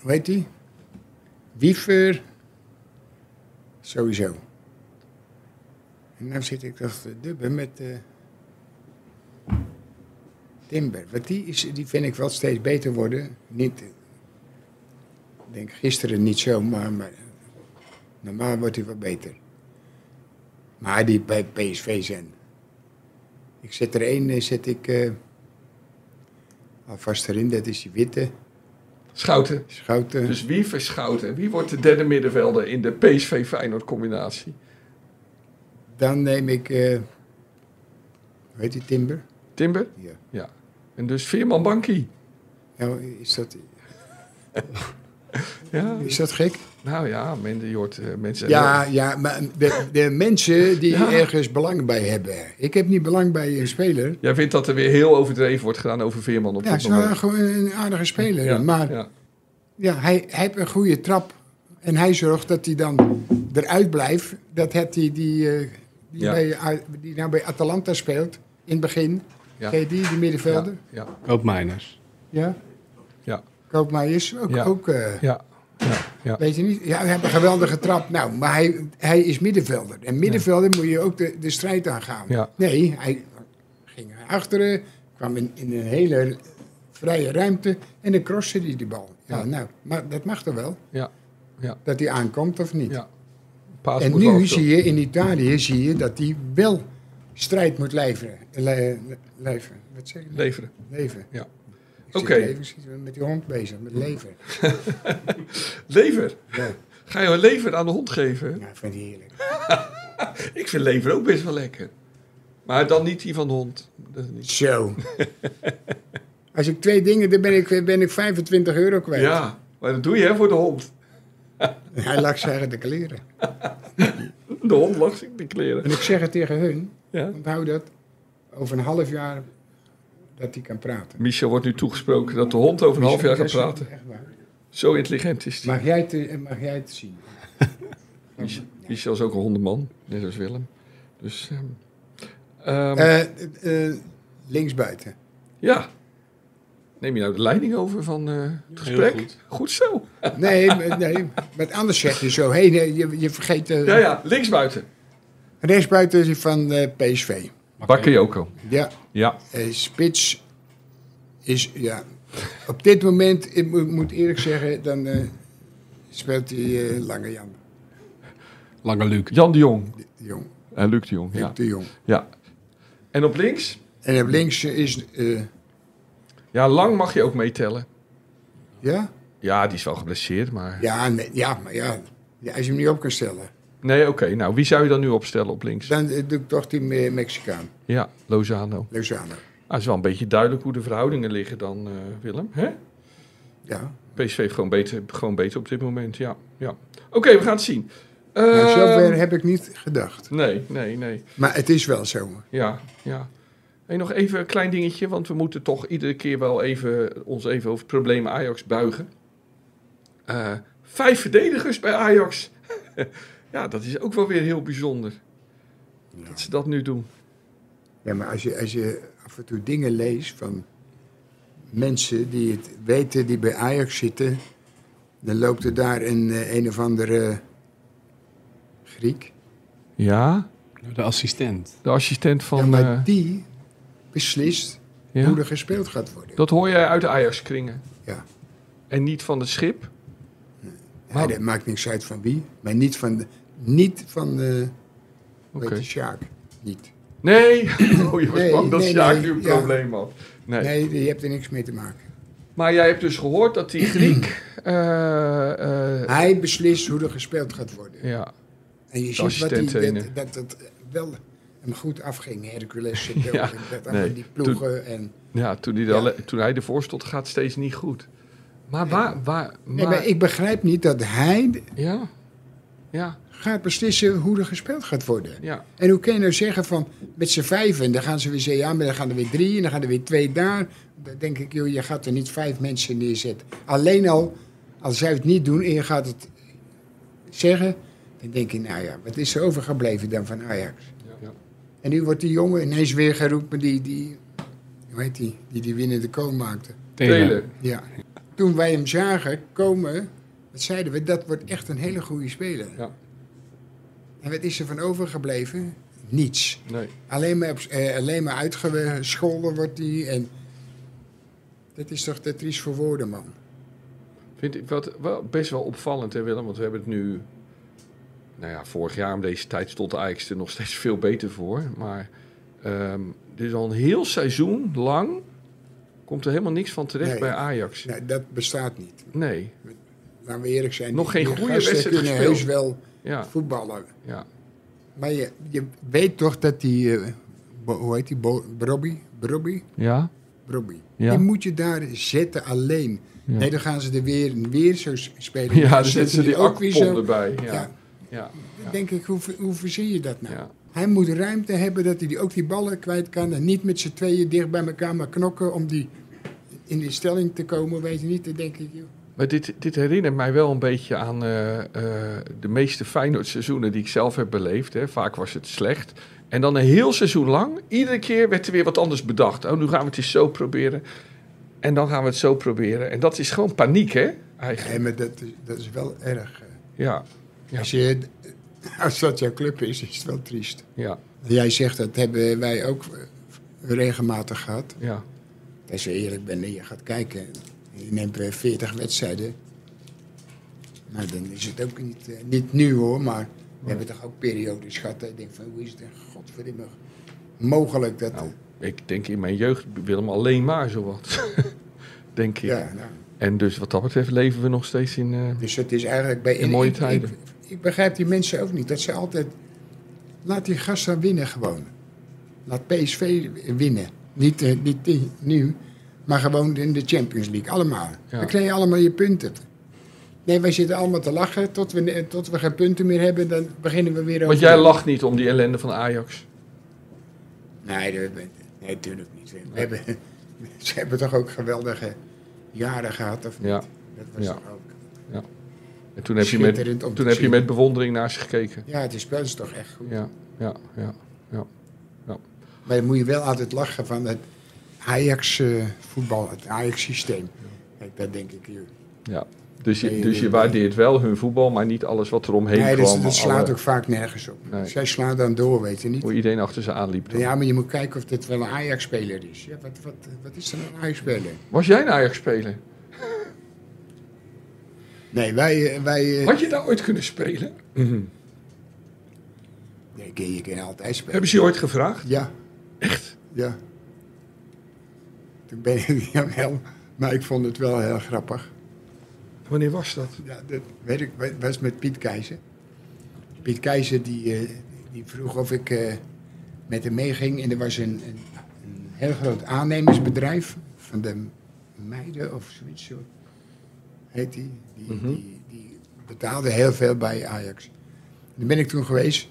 Speaker 2: hoe heet die? Wiever. Sowieso. En nou zit ik toch te dubben met eh, Timber. Want die, is, die vind ik wel steeds beter worden. Niet, eh, ik denk gisteren niet zo, maar, maar normaal wordt hij wel beter. Maar die bij PSV zijn. Ik zet er één, eh, zet ik eh, alvast erin. Dat is die witte
Speaker 1: Schouten.
Speaker 2: schouten.
Speaker 1: Dus Wiever, Schouten. Wie wordt de derde middenvelder in de PSV-Feyenoord combinatie?
Speaker 2: Dan neem ik, eh, hoe heet die Timber?
Speaker 1: Timber?
Speaker 2: Ja.
Speaker 1: Ja. En dus Veerman Bankie.
Speaker 2: Nou, is dat,
Speaker 1: Ja.
Speaker 2: is dat gek?
Speaker 1: Nou ja, men, je hoort eh, mensen...
Speaker 2: Ja, ja, maar de, de mensen die
Speaker 1: Ja.
Speaker 2: ergens belang bij hebben. Ik heb niet belang bij een speler.
Speaker 1: Jij vindt dat er weer heel overdreven wordt gedaan over Veerman op
Speaker 2: Ja,
Speaker 1: dit
Speaker 2: het is wel
Speaker 1: moment.
Speaker 2: een, gewoon een aardige speler.
Speaker 1: Ja,
Speaker 2: maar ja.
Speaker 1: ja.
Speaker 2: hij, hij heeft een goede trap. En hij zorgt dat hij dan eruit blijft. Dat heeft hij die, eh, die,
Speaker 1: Ja.
Speaker 2: bij, A- die nou bij Atalanta speelt in het begin.
Speaker 1: Ja.
Speaker 2: Ken je die, die
Speaker 1: Ja,
Speaker 2: middenvelder?
Speaker 1: ja,
Speaker 4: Ook Mijners.
Speaker 2: Ja.
Speaker 1: Ja.
Speaker 2: Koopmeijers, ook...
Speaker 1: Ja.
Speaker 2: ook eh,
Speaker 1: ja, ja, ja.
Speaker 2: Weet je niet? Ja, hij heeft een geweldige trap. Nou, maar hij, hij is middenvelder. En middenvelder moet je ook de, de strijd aangaan.
Speaker 1: Ja.
Speaker 2: Nee, hij ging naar achteren, kwam in, in een hele vrije ruimte en dan crossen hij die bal. Ja,
Speaker 1: Ja.
Speaker 2: nou, maar dat mag toch wel?
Speaker 1: Ja. Ja.
Speaker 2: Dat hij aankomt of niet?
Speaker 1: Ja. Paas
Speaker 2: En
Speaker 1: moet wel
Speaker 2: nu
Speaker 1: af-
Speaker 2: zie je in Italië zie je dat hij wel strijd moet leveren. Le- le- leveren. Wat zeg je? nou?
Speaker 1: Leveren.
Speaker 2: Leven.
Speaker 1: Ja.
Speaker 2: Ik
Speaker 1: Oké.
Speaker 2: zit even- ik zit met die hond bezig, met leven.
Speaker 1: Lever?
Speaker 2: Ja,
Speaker 1: Ga je een lever aan de hond geven?
Speaker 2: ja ik vind het heerlijk.
Speaker 1: Ik vind lever ook best wel lekker. Maar dan niet die van de hond. Dat is niet.
Speaker 2: Zo. Als ik twee dingen, dan ben ik, ben ik 25 euro kwijt.
Speaker 1: Ja, maar dat doe je hè, voor de hond.
Speaker 2: Hij lag ze eigenlijk de kleren.
Speaker 1: De hond lag zich de
Speaker 2: En
Speaker 1: kleren.
Speaker 2: ik zeg het tegen hun,
Speaker 1: Ja.
Speaker 2: onthoud dat, over een half jaar dat hij kan praten.
Speaker 1: Michel wordt nu toegesproken dat de hond over een half jaar gaat
Speaker 2: Dat is
Speaker 1: praten.
Speaker 2: echt waar.
Speaker 1: Zo intelligent is hij.
Speaker 2: Mag jij het, eh, mag jij het zien?
Speaker 1: Mich- Michel is ook een hondenman, net als Willem. Dus, ehm, ehm,
Speaker 2: Eh, eh, linksbuiten.
Speaker 1: ja. Neem je nou de leiding over van eh, het gesprek? Goed. zo.
Speaker 2: Nee, maar- nee, maar anders zeg je zo. Hey, nee, je, je vergeet eh,
Speaker 1: Ja, ja, linksbuiten.
Speaker 2: rechtsbuiten is van eh, PSV.
Speaker 1: Bakayoko.
Speaker 2: Ja,
Speaker 1: Ja.
Speaker 2: Eh, spits is, ja. Op dit moment, ik moet, moet eerlijk zeggen, dan eh, speelt hij eh, Lange Jan
Speaker 4: Lange Luc.
Speaker 1: Jan de Jong.
Speaker 2: de Jong.
Speaker 1: En Luc de Jong,
Speaker 2: Huub
Speaker 1: ja.
Speaker 2: de Jong.
Speaker 1: ja. En op links?
Speaker 2: En op links eh, is, eh,
Speaker 1: Ja, Lang mag je ook meetellen.
Speaker 2: ja?
Speaker 1: Ja, die is wel geblesseerd, maar...
Speaker 2: Ja, nee, ja, maar ja. Ja, als je hem niet op kan stellen.
Speaker 1: Nee, oké. Nou, wie zou je dan nu opstellen op links?
Speaker 2: Dan eh, doe ik toch die Me- Mexicaan,
Speaker 1: Ja, Lozano.
Speaker 2: Lozano.
Speaker 1: Ah, is wel een beetje duidelijk hoe de verhoudingen liggen dan, eh, Willem. Hè?
Speaker 2: Ja.
Speaker 1: PSV heeft gewoon beter, gewoon beter op dit moment, ja. ja. Oké, we gaan het zien.
Speaker 2: Nou, zover
Speaker 1: Ehm,
Speaker 2: heb ik niet gedacht.
Speaker 1: Nee, nee, nee.
Speaker 2: Maar het is wel zo.
Speaker 1: Ja, ja. Hey, nog even een klein dingetje, want we moeten toch iedere keer wel even ons even over het probleem Ajax buigen. Eh, vijf verdedigers bij Ajax. ja, dat is ook wel weer heel bijzonder. Dat ze dat nu doen.
Speaker 2: Ja, maar als je, als je af en toe dingen leest van mensen die het weten, die bij Ajax zitten, dan loopt er daar een, eh, een of andere Griek.
Speaker 1: Ja,
Speaker 4: De assistent.
Speaker 1: de assistent van.
Speaker 2: Ja,
Speaker 1: Ja,
Speaker 2: maar die beslist
Speaker 1: ja.
Speaker 2: hoe er gespeeld gaat worden.
Speaker 1: Dat hoor jij uit de Ajax-kringen.
Speaker 2: Ja.
Speaker 1: En niet van de schip.
Speaker 2: Ja,
Speaker 1: oh.
Speaker 2: dat maakt niks uit van wie, maar niet van de, niet van de,
Speaker 1: Oké.
Speaker 2: weet je, Sjaak. Niet.
Speaker 1: Nee, oh, je was
Speaker 2: Nee,
Speaker 1: bang dat
Speaker 2: nee,
Speaker 1: Sjaak
Speaker 2: nee,
Speaker 1: nu een
Speaker 2: ja.
Speaker 1: probleem had. Nee.
Speaker 2: Nee, je hebt er niks mee te maken.
Speaker 1: Maar jij hebt dus gehoord dat die Griek. eh, eh,
Speaker 2: Hij beslist hoe er gespeeld gaat worden.
Speaker 1: ja,
Speaker 2: En je ziet wat die,
Speaker 1: assistent-trainer.
Speaker 2: dat, dat het wel hem goed afging. Hercules zit wel
Speaker 1: Ja,
Speaker 2: in dat
Speaker 1: nee.
Speaker 2: aan die ploegen. En,
Speaker 1: ja, toen, hij er
Speaker 2: Ja.
Speaker 1: alle- toen hij ervoor stond, gaat het steeds niet goed. Maar waar. waar maar,
Speaker 2: nee, maar ik begrijp niet dat hij
Speaker 1: Ja, ja,
Speaker 2: gaat beslissen hoe er gespeeld gaat worden.
Speaker 1: ja.
Speaker 2: En hoe kun je nou zeggen van met z'n vijven, dan gaan ze weer zeggen, ja, maar dan gaan er weer drie en dan gaan er weer twee daar. Dan denk ik, joh, je gaat er niet vijf mensen neerzetten. Alleen al, als zij het niet doen en je gaat het zeggen, dan denk je, nou ja, wat is er overgebleven dan van Ajax?
Speaker 1: Ja.
Speaker 2: En nu wordt die jongen ineens weer geroepen, die, die hoe heet die, die die winnende kool maakte.
Speaker 1: Telen.
Speaker 2: Ja. Toen wij hem zagen komen, wat zeiden we, dat wordt echt een hele goede speler.
Speaker 1: Ja.
Speaker 2: En wat is er van overgebleven? Niets.
Speaker 1: Nee.
Speaker 2: Alleen maar, op, eh, alleen maar uitgescholden wordt hij. En dat is toch te triest voor woorden, man.
Speaker 1: Vind ik wat wel best wel opvallend, hè Willem? Want we hebben het nu... Nou ja, vorig jaar om deze tijd stond Ajax er nog steeds veel beter voor. Maar ehm dit is al een heel seizoen lang... komt er helemaal niks van terecht
Speaker 2: Nee.
Speaker 1: bij Ajax.
Speaker 2: Nou, dat bestaat niet.
Speaker 1: Nee,
Speaker 2: Laten we eerlijk zijn.
Speaker 1: Nog geen
Speaker 2: Die
Speaker 1: goede
Speaker 2: gasten
Speaker 1: wedstrijd
Speaker 2: kunnen
Speaker 1: gespeeld.
Speaker 2: heus wel
Speaker 1: ja,
Speaker 2: voetballen.
Speaker 1: ja.
Speaker 2: Maar je, je weet toch dat die... eh, Bo- hoe heet die? Bo- Brobby? Brobby?
Speaker 1: Ja,
Speaker 2: Brobby.
Speaker 1: Ja.
Speaker 2: Die moet je daar zetten alleen.
Speaker 1: Ja.
Speaker 2: Nee, dan gaan ze er weer, weer zo s- spelen.
Speaker 1: ja
Speaker 2: Dan
Speaker 1: er zitten
Speaker 2: zetten
Speaker 1: ze die
Speaker 2: ook weer zo.
Speaker 1: akpon erbij. Ja, ja.
Speaker 2: Ja.
Speaker 1: ja.
Speaker 2: Dan denk ik, hoe, ver- hoe verzin je dat nou?
Speaker 1: ja.
Speaker 2: Hij moet ruimte hebben dat hij die, ook die ballen kwijt kan. En niet met z'n tweeën dicht bij elkaar, maar knokken om die in die stelling te komen. Weet je niet, dan denk ik, joh.
Speaker 1: Maar dit, dit herinnert mij wel een beetje aan eh, eh, de meeste Feyenoord seizoenen die ik zelf heb beleefd. Hè. Vaak was het slecht. En dan een heel seizoen lang, iedere keer werd er weer wat anders bedacht. Oh, nu gaan we het eens zo proberen. En dan gaan we het zo proberen. En dat is gewoon paniek, hè? Eigenlijk.
Speaker 2: Nee, maar dat is, dat is wel erg. eh.
Speaker 1: Ja, Ja.
Speaker 2: Als, je, als dat jouw club is, is het wel triest.
Speaker 1: ja,
Speaker 2: Jij zegt, dat hebben wij ook eh, regelmatig gehad.
Speaker 1: ja.
Speaker 2: Als je eerlijk bent en je gaat kijken, je neemt eh, 40 wedstrijden. Nou, dan is het ook niet, eh, niet nu hoor, maar we hebben toch ook periodes gehad. dat Ik denk van, hoe is het in godverdomme mogelijk dat...
Speaker 1: Nou, Ik denk in mijn jeugd, Willem, alleen maar zowat. denk ik.
Speaker 2: ja, nou,
Speaker 1: En dus wat dat betreft leven we nog steeds in... eh,
Speaker 2: dus het is eigenlijk bij...
Speaker 1: In mooie
Speaker 2: ik- ik-
Speaker 1: tijden.
Speaker 2: Ik, begrijp die mensen ook niet, dat ze altijd... Laat die gast dan winnen gewoon. Laat PSV winnen. Niet, eh, niet die- nu, maar gewoon in de Champions League. Allemaal.
Speaker 1: Ja.
Speaker 2: Dan krijg je allemaal je punten. Nee, wij zitten allemaal te lachen tot we, eh, tot we geen punten meer hebben. Dan beginnen we weer over.
Speaker 1: Want jij lacht niet om die ellende van Ajax.
Speaker 2: Nee, dat, nee, natuurlijk niet. We hebben, ze hebben toch ook geweldige jaren gehad, of niet?
Speaker 1: Ja.
Speaker 2: Dat was
Speaker 1: Ja.
Speaker 2: toch ook...
Speaker 1: En toen heb je met,
Speaker 2: Schitterend om te
Speaker 1: toen heb je
Speaker 2: zien.
Speaker 1: met bewondering naar ze gekeken.
Speaker 2: Ja, het spel is toch echt goed.
Speaker 1: Ja, ja, ja.
Speaker 2: Maar dan moet je wel altijd lachen van het Ajax-voetbal, het Ajax-systeem. Kijk, dat denk ik. joh.
Speaker 1: ja. Dus, je,
Speaker 2: Nee,
Speaker 1: dus
Speaker 2: nee,
Speaker 1: je
Speaker 2: nee.
Speaker 1: waardeert wel hun voetbal, maar niet alles wat er omheen
Speaker 2: Nee,
Speaker 1: kwam.
Speaker 2: dat, dat slaat
Speaker 1: alle-
Speaker 2: ook vaak nergens op.
Speaker 1: Nee.
Speaker 2: Zij slaan dan door, weet je niet.
Speaker 1: Hoe iedereen achter ze aanliep. dan.
Speaker 2: Ja, maar je moet kijken of dit wel een Ajax-speler is. Ja, wat, wat, wat is dan een Ajax-speler?
Speaker 1: Was jij een Ajax-speler?
Speaker 2: Nee, wij... eh, wij eh,
Speaker 1: Had je daar ooit kunnen spelen?
Speaker 2: nee, kun je kan altijd spelen.
Speaker 1: Hebben ze je ooit gevraagd?
Speaker 2: Ja. Echt? Ja. Toen ben ik, jawel. Maar ik vond het wel heel grappig.
Speaker 1: Wanneer was dat?
Speaker 2: Ja, dat weet ik, wa- was met Piet Keizer. Piet Keizer die, eh, die vroeg of ik eh, met hem meeging. En er was een, een, een heel groot aannemersbedrijf van de meiden of zoiets. Zo heet die. Die, die, die betaalde heel veel bij Ajax. Daar ben ik toen geweest.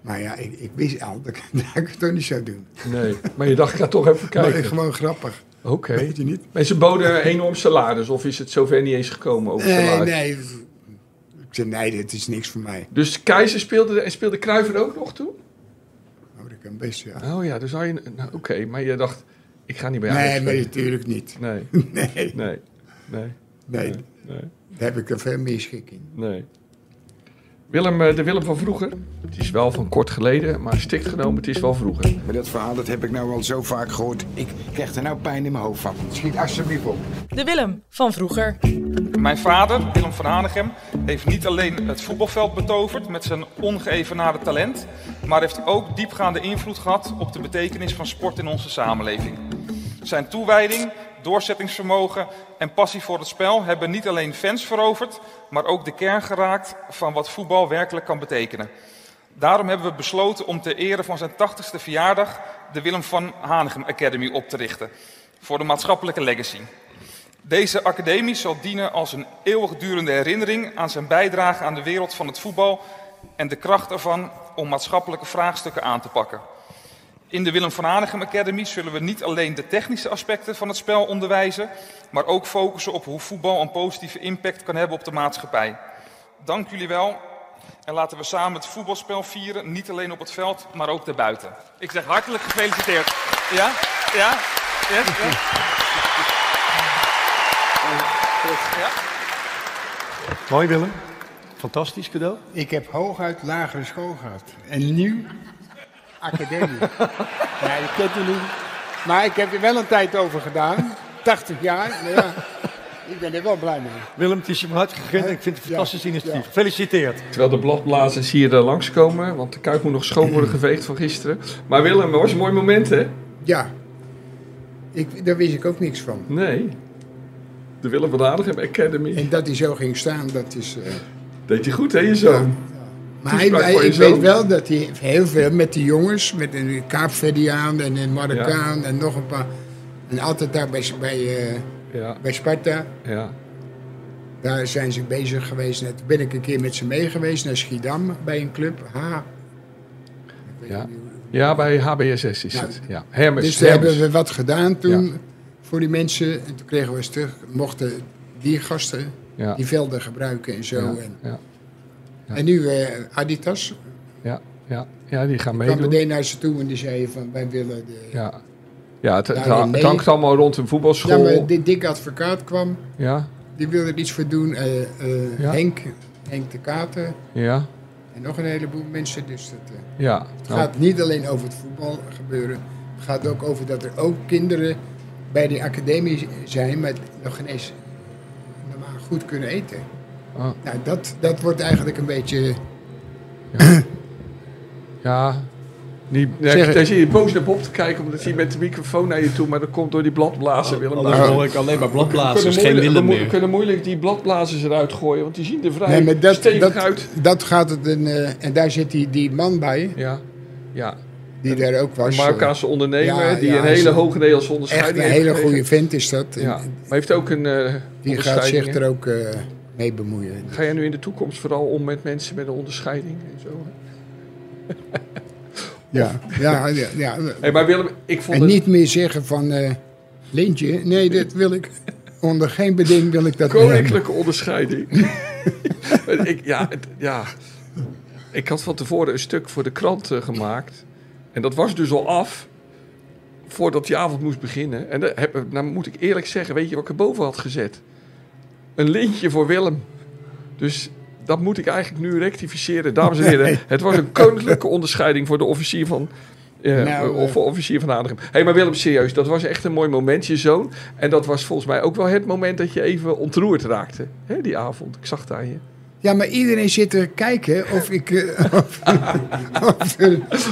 Speaker 2: Maar ja, ik, ik wist al dat ik, dat ik het toch niet zou doen.
Speaker 1: Nee, maar je dacht, ik ga toch even
Speaker 2: Maar
Speaker 1: kijken.
Speaker 2: gewoon grappig,
Speaker 1: Oké.
Speaker 2: weet je niet?
Speaker 1: En ze boden enorm salaris, of is het zover niet eens gekomen over
Speaker 2: Nee,
Speaker 1: salaris?
Speaker 2: Eh, nee. Ik zei, nee, dit is niks voor mij.
Speaker 1: Dus Keizer speelde, en speelde Kruiver ook nog toen?
Speaker 2: Hoor ik hem best, ja.
Speaker 1: Oh ja, dus had je... Nou, Oké, maar je dacht, ik ga niet bij Ajax
Speaker 2: Nee, maar
Speaker 1: spelen.
Speaker 2: natuurlijk niet.
Speaker 1: Nee,
Speaker 2: Nee,
Speaker 1: nee, nee,
Speaker 2: nee,
Speaker 1: nee,
Speaker 2: daar heb ik er veel meer schik in.
Speaker 1: nee. Willem, eh, de Willem van vroeger. Het is wel van kort geleden, maar strikt genomen, het is wel vroeger.
Speaker 7: Maar dat verhaal dat heb ik nou al zo vaak gehoord. Ik krijg er nou pijn in mijn hoofd van. Schiet alsjeblieft op.
Speaker 3: De Willem van vroeger.
Speaker 8: Mijn vader, Willem van Hanegem, heeft niet alleen het voetbalveld betoverd met zijn ongeëvenaarde talent, maar heeft ook diepgaande invloed gehad op de betekenis van sport in onze samenleving. Zijn toewijding, doorzettingsvermogen en passie voor het spel hebben niet alleen fans veroverd, maar ook de kern geraakt van wat voetbal werkelijk kan betekenen. Daarom hebben we besloten om ter ere van zijn 80ste verjaardag de Willem van Hanegem Academy op te richten voor de maatschappelijke legacy. Deze academie zal dienen als een eeuwigdurende herinnering aan zijn bijdrage aan de wereld van het voetbal en de kracht ervan om maatschappelijke vraagstukken aan te pakken. In de Willem van Hanegem Academy zullen we niet alleen de technische aspecten van het spel onderwijzen, maar ook focussen op hoe voetbal een positieve impact kan hebben op de maatschappij. Dank jullie wel en laten we samen het voetbalspel vieren, niet alleen op het veld, maar ook daarbuiten. Ik zeg hartelijk gefeliciteerd. Ja? Ja? Ja? ja.
Speaker 9: Mooi Willem. Fantastisch cadeau.
Speaker 2: Ik heb hooguit lagere school gehad. En nu academie. ja, je kunt het niet. Maar ik heb er wel een tijd over gedaan. 80 jaar. Maar ja, ik ben er wel blij mee.
Speaker 9: Willem, het is je van harte gegund. Ik vind het een fantastisch initiatief. Gefeliciteerd.
Speaker 1: Terwijl de bladblazers hier langs langskomen, want de kuik moet nog schoon worden geveegd van gisteren. Maar Willem, was een mooi moment, hè?
Speaker 2: Ja, ik, daar wist ik ook niks van.
Speaker 1: Nee. De Willem van Hanegem Academy.
Speaker 2: En dat hij zo ging staan, dat is... eh,
Speaker 1: Deed hij goed, hè, je zoon?
Speaker 2: Maar hij,
Speaker 1: Toespraak
Speaker 2: hij-
Speaker 1: voor je
Speaker 2: ik
Speaker 1: zoon.
Speaker 2: weet wel dat hij heel veel met die jongens, met een Kaapverdiaan en een Marokkaan en nog een paar. En altijd daar bij, bij, eh,
Speaker 1: Ja,
Speaker 2: bij Sparta,
Speaker 1: ja.
Speaker 2: daar zijn ze bezig geweest. En toen ben ik een keer met ze mee geweest naar Schiedam bij een club. Ha. Ik weet
Speaker 1: Ja.
Speaker 2: niet hoe-
Speaker 1: Ja, bij HBSS is
Speaker 2: Ja.
Speaker 1: het. Ja. Hermes.
Speaker 2: Dus daar
Speaker 1: Hermes.
Speaker 2: hebben we wat gedaan toen
Speaker 1: Ja.
Speaker 2: voor die mensen. En toen kregen we eens terug, mochten die gasten
Speaker 1: Ja.
Speaker 2: die velden gebruiken en zo.
Speaker 1: Ja,
Speaker 2: En,
Speaker 1: ja,
Speaker 2: en nu eh, Adidas
Speaker 1: ja, ja, ja, die gaan
Speaker 2: kwam
Speaker 1: meedoen.
Speaker 2: meteen naar ze toe en die zeiden van wij willen de...
Speaker 1: Ja, ja het, het,
Speaker 2: Ja, nee.
Speaker 1: het hangt allemaal rond een
Speaker 2: Ja,
Speaker 1: voetbalschool. Ja,
Speaker 2: maar die dikke advocaat kwam,
Speaker 1: ja,
Speaker 2: die wilde er iets voor doen. Eh, eh,
Speaker 1: Ja.
Speaker 2: Henk, Henk de Kater
Speaker 1: ja.
Speaker 2: en nog een heleboel mensen. Dus dat, eh, het
Speaker 1: Nou,
Speaker 2: gaat niet alleen over het voetbal gebeuren. Het gaat ook over dat er ook kinderen bij die academie zijn, maar nog geen eens normaal goed kunnen eten.
Speaker 1: Oh.
Speaker 2: Nou, dat, dat wordt eigenlijk een beetje...
Speaker 1: ja. Niet, nee,
Speaker 2: Zeg-
Speaker 1: daar zit je boos naar Bob te kijken, omdat hij met de microfoon naar je toe, maar dat komt door die bladblazen. Willem.
Speaker 4: Anders
Speaker 1: Daar-
Speaker 4: hoor ik alleen maar
Speaker 1: we,
Speaker 4: bladblazers,
Speaker 1: kunnen
Speaker 4: geen
Speaker 1: moeilijk, we,
Speaker 4: Willem
Speaker 1: moe- we
Speaker 4: meer.
Speaker 1: kunnen moeilijk die bladblazers eruit gooien, want die zien er vrij
Speaker 2: Nee, maar dat,
Speaker 1: stevig
Speaker 2: dat,
Speaker 1: uit.
Speaker 2: dat gaat het een... eh, en daar zit die, die man bij,
Speaker 1: Ja, ja.
Speaker 2: die daar ook was.
Speaker 1: Een Marokkaanse ondernemer
Speaker 2: ja,
Speaker 1: die
Speaker 2: ja,
Speaker 1: een
Speaker 2: hij is
Speaker 1: hele
Speaker 2: een-
Speaker 1: hoge Nederlandse
Speaker 2: Echt
Speaker 1: onderscheiding
Speaker 2: een
Speaker 1: heeft
Speaker 2: hele
Speaker 1: gekregen.
Speaker 2: goede vent is dat. En-
Speaker 1: Ja, maar heeft ook een eh
Speaker 2: Die gaat zich
Speaker 1: onderscheiding, hè?
Speaker 2: er ook eh, mee bemoeien.
Speaker 1: Ga jij nu in de toekomst vooral om met mensen met een onderscheiding en zo? hè?
Speaker 2: Ja, ja, ja. ja.
Speaker 1: Hey, maar Willem, ik vond
Speaker 2: En
Speaker 1: het...
Speaker 2: niet meer zeggen van eh, lintje. Nee, dat wil ik. Onder geen beding wil ik dat meer hebben.
Speaker 1: Koninklijke onderscheiding. Maar ik, ja, het- ja, ik had van tevoren een stuk voor de krant eh, gemaakt. En dat was dus al af voordat die avond moest beginnen. En daar heb, nou moet ik eerlijk zeggen, weet je wat ik erboven had gezet? Een lintje voor Willem. Dus dat moet ik eigenlijk nu rectificeren. Dames en heren, het was een koninklijke onderscheiding voor de officier van... eh,
Speaker 2: Nou, eh.
Speaker 1: of voor officier van Adem. Hé, hey, maar Willem, serieus, dat was echt een mooi moment, je zoon. En dat was volgens mij ook wel het moment dat je even ontroerd raakte, hè, die avond. Ik zag het aan je.
Speaker 2: Ja, maar iedereen zit te kijken of ik. eh, of,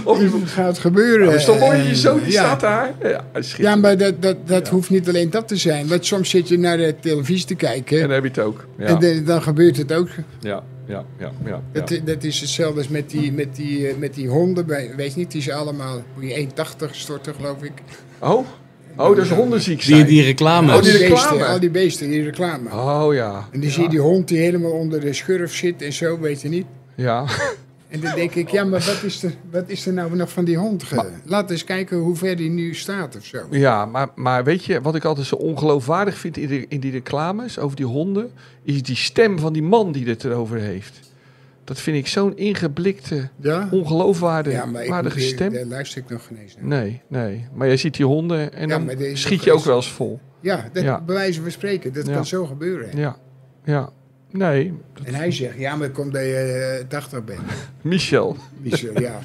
Speaker 2: of er iets gaat gebeuren.
Speaker 1: Ja, dat Oh, is toch mooi,
Speaker 2: Eh,
Speaker 1: je zoon die
Speaker 2: ja.
Speaker 1: staat daar. Ja, schitterend.
Speaker 2: Ja, maar dat, dat, dat hoeft niet alleen dat te zijn. Want soms zit je naar de televisie te kijken.
Speaker 1: En dan heb je het ook. Ja,
Speaker 2: En de- dan gebeurt het ook.
Speaker 1: ja, ja, ja. ja,
Speaker 2: Dat,
Speaker 1: ja.
Speaker 2: dat is hetzelfde als met die, met die, eh, met die honden. Bij, weet je niet, die zijn allemaal moet je 1,80 storten, geloof ik.
Speaker 1: Oh, oh, dat is hondenziek zijn.
Speaker 5: Die, die reclame.
Speaker 1: Oh, die
Speaker 2: Beesten, al
Speaker 1: reclame.
Speaker 2: die beesten, die reclame.
Speaker 1: Oh ja,
Speaker 2: En dan zie je die hond die helemaal onder de schurf zit en zo, weet je niet.
Speaker 1: ja.
Speaker 2: En dan denk ik, ja, maar wat is er, wat is er nou nog van die hond? ge- Laat eens kijken hoe ver die nu staat of zo.
Speaker 1: Ja, maar, maar weet je wat ik altijd zo ongeloofwaardig vind in, die- in die reclames over die honden? Is die stem van die man die het erover heeft. Dat vind ik zo'n ingeblikte,
Speaker 2: Ja, ja maar ik
Speaker 1: ongeloofwaardige
Speaker 2: moet
Speaker 1: stem.
Speaker 2: eerlijk- daar luister ik nog geen eens naar.
Speaker 1: Nee, nee. Maar jij ziet die honden en
Speaker 2: Ja,
Speaker 1: dan
Speaker 2: maar deze
Speaker 1: schiet
Speaker 2: ook
Speaker 1: je ook
Speaker 2: eens-
Speaker 1: wel eens vol.
Speaker 2: Ja, dat
Speaker 1: Ja.
Speaker 2: bij wijze van spreken, dat
Speaker 1: Ja.
Speaker 2: kan zo gebeuren.
Speaker 1: Ja, ja. Nee,
Speaker 2: En hij zegt, ja, maar komt dat je eh, 80 bent.
Speaker 1: Michel.
Speaker 2: Michel, ja.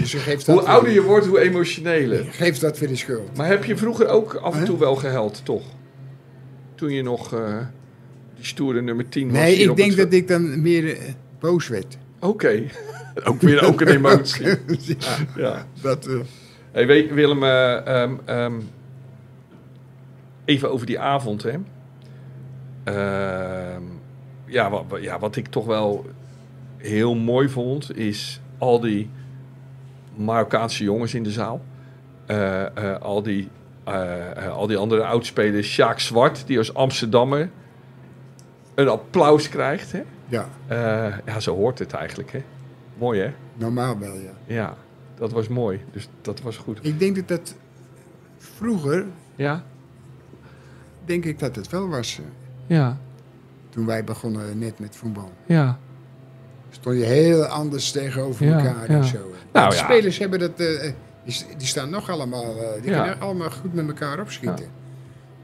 Speaker 2: Dus je geeft dat
Speaker 1: Hoe ouder
Speaker 2: weer-
Speaker 1: je wordt, hoe emotioneler.
Speaker 2: Geeft dat weer de schuld.
Speaker 1: Maar heb je vroeger ook af en toe wel geheld, toch? Toen je nog eh, die stoere nummer 10 was.
Speaker 2: Nee,
Speaker 1: hier
Speaker 2: ik
Speaker 1: op
Speaker 2: denk
Speaker 1: het-
Speaker 2: dat ik dan meer eh, boos werd.
Speaker 1: Oké. ook weer ook een emotie. Ja.
Speaker 2: dat, eh,
Speaker 1: Hey, we- Willem, eh, ehm, ehm, even over die avond, hè. Ehm, ja, wat, ja, wat ik toch wel heel mooi vond, is al die Marokkaanse jongens in de zaal. Eh, eh, al, die, eh, eh, al die andere oudspelers. Sjaak Zwart, die als Amsterdammer een applaus krijgt. Hè?
Speaker 2: ja,
Speaker 1: Eh, ja, zo hoort het eigenlijk. Hè? Mooi, hè?
Speaker 2: normaal wel, ja.
Speaker 1: Ja, dat was mooi. Dus dat was goed.
Speaker 2: Ik denk dat dat vroeger,
Speaker 1: Ja?
Speaker 2: denk ik dat het wel was. eh,
Speaker 1: Ja,
Speaker 2: Toen wij begonnen net met voetbal.
Speaker 1: ja.
Speaker 2: Stond je heel anders tegenover
Speaker 1: Ja,
Speaker 2: elkaar
Speaker 1: ja.
Speaker 2: en zo. eh.
Speaker 1: Nou
Speaker 2: de
Speaker 1: ja.
Speaker 2: spelers hebben dat... eh, die, s- die staan nog allemaal... eh, die
Speaker 1: Ja.
Speaker 2: kunnen allemaal goed met elkaar opschieten.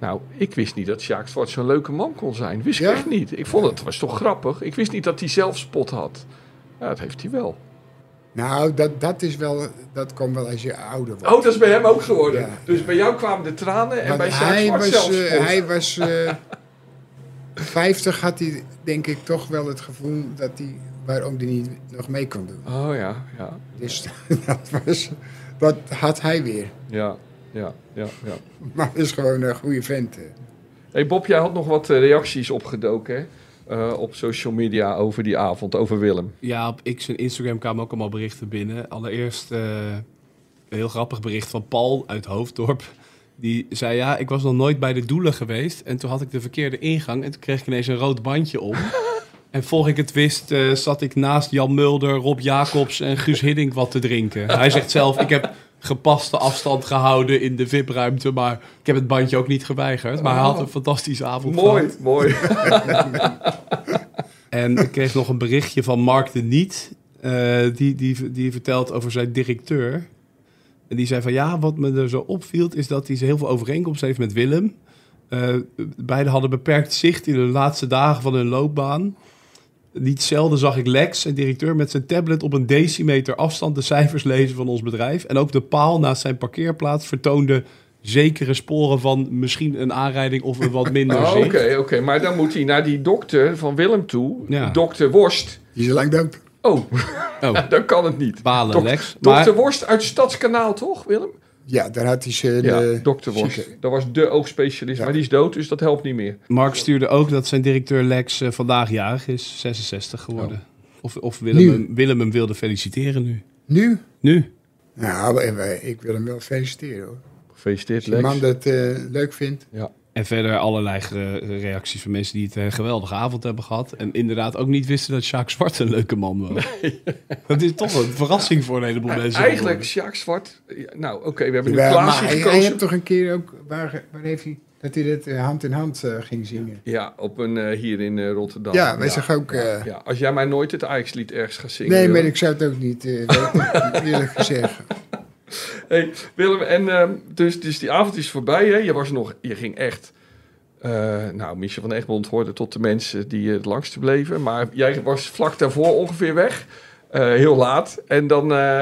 Speaker 1: Nou, ik wist niet dat Sjaak Zwart zo'n leuke man kon zijn. Wist
Speaker 2: Ja?
Speaker 1: ik echt niet. Ik vond het was toch grappig. Ik wist niet dat hij zelf spot had. Ja, dat heeft hij wel.
Speaker 2: Nou, dat, dat is wel... Dat komt wel als je ouder wordt.
Speaker 1: Oh, dat is bij hem ook geworden.
Speaker 2: Ja.
Speaker 1: Dus bij jou kwamen de tranen en
Speaker 2: Want
Speaker 1: bij Sjaak
Speaker 2: hij,
Speaker 1: Zwart
Speaker 2: was,
Speaker 1: zelf
Speaker 2: eh,
Speaker 1: spot.
Speaker 2: hij was... eh 50 had hij, denk ik, toch wel het gevoel dat hij... Waarom hij niet nog mee kon doen.
Speaker 1: Oh ja, ja,
Speaker 2: Dus dat was... Dat had hij weer.
Speaker 1: ja, ja, ja, ja.
Speaker 2: Maar is gewoon een goede vent. eh.
Speaker 1: hey Bob, jij had nog wat eh, reacties opgedoken hè? Eh, op social media over die avond, over Willem.
Speaker 5: Ja, op X en Instagram kwamen ook allemaal berichten binnen. Allereerst eh, een heel grappig bericht van Paul uit Hoofddorp. Die zei, ja, ik was nog nooit bij de doelen geweest. En toen had ik de verkeerde ingang en toen kreeg ik ineens een rood bandje om. en voor ik het wist, eh, zat ik naast Jan Mulder, Rob Jacobs en Guus Hiddink wat te drinken. Hij zegt zelf, ik heb gepaste afstand gehouden in de VIP-ruimte, maar ik heb het bandje ook niet geweigerd. Maar hij had een fantastische avond gehad.
Speaker 1: Mooi, mooi.
Speaker 5: En ik kreeg nog een berichtje van Mark de Niet. eh, die, die, die vertelt over zijn directeur. En die zei van ja, wat me er zo opviel is dat hij heel veel overeenkomst heeft met Willem. Eh, beiden hadden beperkt zicht in de laatste dagen van hun loopbaan. Niet zelden zag ik Lex, zijn directeur, met zijn tablet op een decimeter afstand de cijfers lezen van ons bedrijf. En ook de paal naast zijn parkeerplaats vertoonde zekere sporen van misschien een aanrijding of een wat minder
Speaker 1: Oh, Oké,
Speaker 5: zicht.
Speaker 1: oké. Maar dan moet hij naar die dokter van Willem toe.
Speaker 5: Ja.
Speaker 1: Dokter Worst.
Speaker 2: Die is al lang dood.
Speaker 1: Oh,
Speaker 5: Oh,
Speaker 1: dan kan het niet.
Speaker 5: balen
Speaker 1: Dok-
Speaker 5: Lex.
Speaker 1: Dokter Worst uit Stadskanaal, toch, Willem?
Speaker 2: Ja, daar had hij zijn...
Speaker 1: Ja,
Speaker 2: eh,
Speaker 1: dokter Worst.
Speaker 2: zieke-
Speaker 1: Dat was de oogspecialist,
Speaker 2: Ja.
Speaker 1: maar die is dood, dus dat helpt niet meer.
Speaker 5: Mark stuurde ook dat zijn directeur Lex eh, vandaag jarig is, 66 geworden. Of, of Willem,
Speaker 2: Nu.
Speaker 5: hem, Willem hem wilde feliciteren nu.
Speaker 2: Nu?
Speaker 5: Nu?
Speaker 2: Nou, eh, wij- ik wil hem wel feliciteren hoor.
Speaker 1: Gefeliciteerd,
Speaker 2: Als die
Speaker 1: Lex.
Speaker 2: man dat eh, leuk vindt.
Speaker 5: En verder allerlei ge- reacties van mensen die het een geweldige avond hebben gehad. En inderdaad ook niet wisten dat Sjaak Zwart een leuke man was. Dat is toch een verrassing voor een heleboel mensen.
Speaker 1: Eigenlijk, Sjaak Zwart. ja, Nou, oké, we hebben nu
Speaker 2: Jawel, maar
Speaker 1: Klaasje
Speaker 2: hij, hij heeft
Speaker 1: gekozen.
Speaker 2: toch een keer ook... Waar, waar heeft hij... Dat hij dat eh, hand in hand eh, ging zingen.
Speaker 1: Ja, op een, eh, hier in eh, Rotterdam.
Speaker 2: ja, wij zeggen ook... eh,
Speaker 1: Ja, als jij mij nooit het Ajax-lied ergens gaat zingen.
Speaker 2: nee, maar
Speaker 1: Willem.
Speaker 2: ik zou het ook niet eh, weten, eerlijk gezegd.
Speaker 1: Hey, Willem, en ehm, dus, dus die avond is voorbij. Hè? Je, was nog, je ging echt. eh, nou, Michel van Egmond hoorde tot de mensen die eh, het langste bleven. Maar jij was vlak daarvoor ongeveer weg. Eh, heel laat. En dan. eh,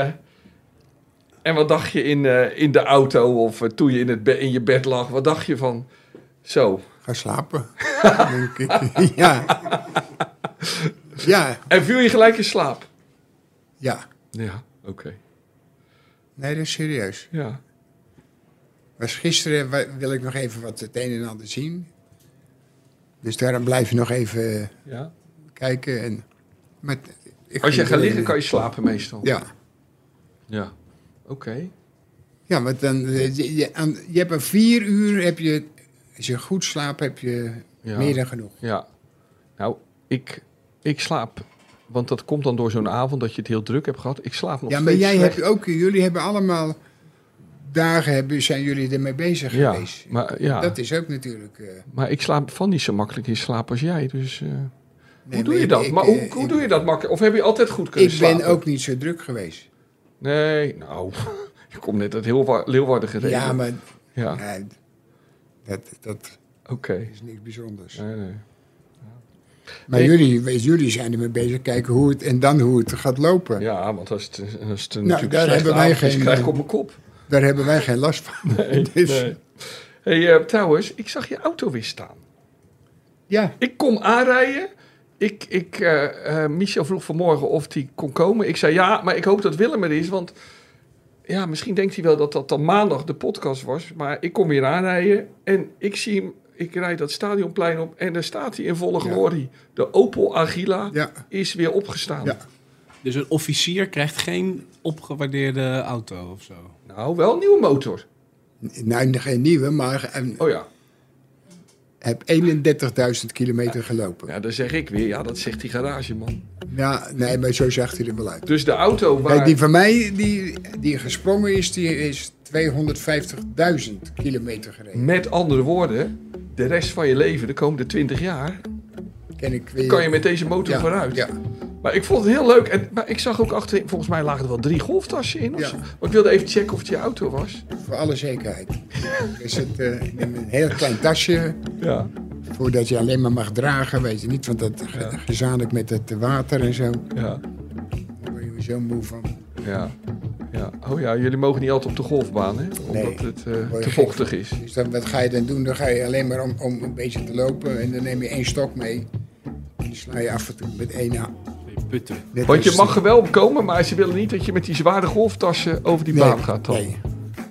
Speaker 1: en wat dacht je in, eh, in de auto of eh, toen je in, het be- in je bed lag? Wat dacht je van. Zo,
Speaker 2: Ga slapen. denk ik. ja. Ja.
Speaker 1: En viel je gelijk in slaap?
Speaker 2: Ja.
Speaker 1: Ja, oké.
Speaker 2: Nee, dat is serieus.
Speaker 1: Ja.
Speaker 2: Was gisteren wa- wil ik nog even wat het een en ander zien. Dus daarom blijf je nog even eh,
Speaker 1: Ja.
Speaker 2: kijken. En, maar t- ik
Speaker 1: Als je
Speaker 2: ging
Speaker 1: gaat
Speaker 2: er-
Speaker 1: liggen, kan je slapen meestal.
Speaker 2: Ja,
Speaker 1: Ja. Oké.
Speaker 2: ja want dan, eh, je, je, aan- je hebt een vier uur, heb je, als je goed slaapt, heb je
Speaker 1: Ja.
Speaker 2: meer dan genoeg.
Speaker 1: Ja. Nou, ik, ik slaap. Want dat komt dan door zo'n avond dat je het heel druk hebt gehad. Ik slaap nog
Speaker 2: ja, maar
Speaker 1: steeds
Speaker 2: jij
Speaker 1: slecht.
Speaker 2: hebt ook, jullie hebben allemaal dagen, hebben, zijn jullie ermee bezig
Speaker 1: Ja,
Speaker 2: geweest.
Speaker 1: maar, ja.
Speaker 2: Dat is ook natuurlijk... eh,
Speaker 1: Maar ik slaap van niet zo makkelijk in slaap als jij. Dus eh,
Speaker 2: nee,
Speaker 1: hoe doe
Speaker 2: maar
Speaker 1: je dat?
Speaker 2: ik-
Speaker 1: maar
Speaker 2: eh,
Speaker 1: hoe, hoe doe je dat makkelijk? Of heb je altijd goed kunnen
Speaker 2: ik
Speaker 1: slapen?
Speaker 2: ben ook niet zo druk geweest.
Speaker 1: Nee, nou. Je komt net uit heel Leeuwarden gereden.
Speaker 2: Ja, maar
Speaker 1: Ja,
Speaker 2: eh, dat, dat
Speaker 1: oké.
Speaker 2: is niks bijzonders.
Speaker 1: Nee, nee.
Speaker 2: Maar
Speaker 1: Ik-
Speaker 2: jullie, jullie zijn ermee bezig, kijken hoe het en dan hoe het gaat lopen.
Speaker 1: Ja, want als het, als het natuurlijk
Speaker 2: Nou, daar
Speaker 1: slecht
Speaker 2: hebben wij
Speaker 1: avond is,
Speaker 2: geen-
Speaker 1: krijg ik op mijn kop.
Speaker 2: Daar hebben wij geen last van. Dus,
Speaker 1: Hey, eh, trouwens, ik zag je auto weer staan.
Speaker 2: Ja,
Speaker 1: Ik kom aanrijden. Ik, ik, eh, eh, Michel vroeg vanmorgen of hij kon komen. Ik zei ja, maar ik hoop dat Willem er is. Want ja, misschien denkt hij wel dat dat dan maandag de podcast was. Maar ik kom weer aanrijden en ik zie hem. Ik rijd dat stadionplein op en daar staat hij in volle glorie. De Opel Agila
Speaker 2: ja,
Speaker 1: is weer opgestaan.
Speaker 2: Ja.
Speaker 5: Dus een officier krijgt geen opgewaardeerde auto of zo.
Speaker 1: Nou, wel een nieuwe motor.
Speaker 2: nou, geen nieuwe, maar eh,
Speaker 1: Oh ja.
Speaker 2: heb 31.000 kilometer gelopen.
Speaker 1: ja, dan zeg ik weer. Ja, dat zegt die garageman.
Speaker 2: Ja, nee, maar zo zag hij er wel uit.
Speaker 1: Dus de auto waar...
Speaker 2: Kijk, die van mij, die, die gesprongen is, die is 250.000 kilometer gereden.
Speaker 1: Met andere woorden, de rest van je leven, de komende 20 jaar,
Speaker 2: Ken ik weer...
Speaker 1: Hm. kan je met deze motor
Speaker 2: Ja,
Speaker 1: vooruit.
Speaker 2: Ja,
Speaker 1: Maar ik vond het heel leuk. En, maar ik zag ook achterin, volgens mij lagen er wel drie golftassen in. Of
Speaker 2: Ja.
Speaker 1: zo. Maar ik wilde even checken of het je auto was.
Speaker 2: voor alle zekerheid. dus het, eh, ik neem een heel klein tasje,
Speaker 1: Ja.
Speaker 2: voordat je alleen maar mag dragen, weet je niet. Want dat ge-
Speaker 1: Ja.
Speaker 2: gezamenlijk met het water en zo, daar
Speaker 1: Ja.
Speaker 2: word je zo moe van.
Speaker 1: Ja. ja. Oh ja, jullie mogen niet altijd op de golfbaan, hè? Omdat
Speaker 2: Nee.
Speaker 1: het eh,
Speaker 2: Word je
Speaker 1: te
Speaker 2: gek.
Speaker 1: vochtig is.
Speaker 2: Dus dan, wat ga je dan doen? Dan ga je alleen maar om, om een beetje te lopen en dan neem je één stok mee. En die sla je af en toe met één hand.
Speaker 5: Putten.
Speaker 2: Net
Speaker 1: Want je
Speaker 2: als-
Speaker 1: mag er wel komen, maar ze willen niet dat je met die zware golftassen over die
Speaker 2: Nee,
Speaker 1: baan gaat. Dan.
Speaker 2: Nee.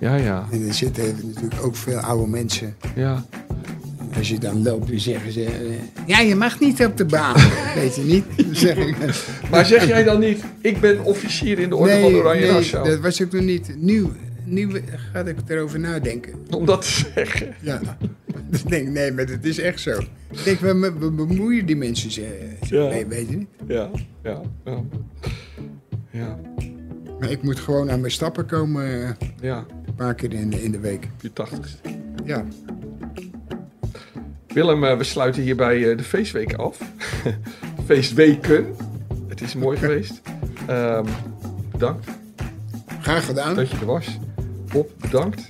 Speaker 1: Ja, ja,
Speaker 2: En er zitten natuurlijk ook veel oude mensen.
Speaker 1: ja.
Speaker 2: Als je dan loopt, dan zeggen ze... eh, ja, je mag niet op de baan. Weet je niet? Dan zeg ik...
Speaker 1: Maar zeg jij dan niet, ik ben officier in de Orde van Oranje
Speaker 2: nee,
Speaker 1: Nassau?
Speaker 2: dat was ook nog niet. Nu, nu ga ik erover nadenken.
Speaker 1: Om dat te zeggen.
Speaker 2: Ja. Dus ik denk, nee, maar dat is echt zo. Ik denk, we, we- we bemoeien die mensen zich zich
Speaker 1: Ja.
Speaker 2: mee, weet je niet?
Speaker 1: Ja, ja, ja. Ja,
Speaker 2: Maar ik moet gewoon aan mijn stappen komen... eh,
Speaker 1: ja,
Speaker 2: Een paar keer in, in de week.
Speaker 1: op je tachtigste.
Speaker 2: Ja.
Speaker 1: Willem, eh, we sluiten hierbij eh, de feestweek af. Feestweken. Het is mooi geweest. Ehm, bedankt
Speaker 2: Graag gedaan.
Speaker 1: dat je er was. Bob, bedankt.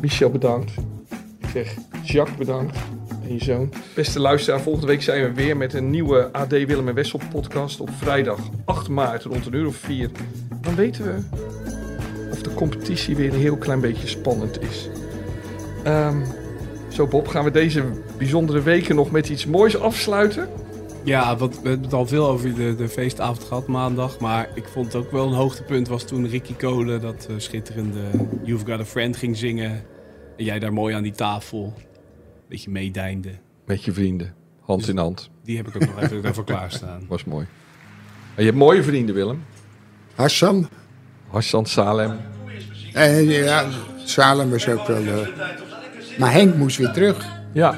Speaker 1: Michel, bedankt. Ik zeg Jacques, bedankt. En je zoon. Beste luisteraar, volgende week zijn we weer met een nieuwe AD Willem en Wessel podcast. Op vrijdag 8 maart rond een uur of vier. Dan weten we of de competitie weer een heel klein beetje spannend is. Ehm, zo Bob, gaan we deze bijzondere weken nog met iets moois afsluiten?
Speaker 5: Ja, want we hebben het al veel over de, de feestavond gehad maandag. Maar ik vond het ook wel een hoogtepunt was toen Ricky Kolen dat eh, schitterende You've Got a Friend ging zingen. En jij daar mooi aan die tafel een beetje meedijnde.
Speaker 1: Met je vrienden, hand in hand.
Speaker 5: Die heb ik ook nog even daarvoor klaarstaan.
Speaker 1: Was mooi. En je hebt mooie vrienden, Willem.
Speaker 2: Hassan.
Speaker 1: Hassan Salem.
Speaker 2: En ja, Salem was ook wel... eh, maar Henk moest weer terug.
Speaker 1: Ja,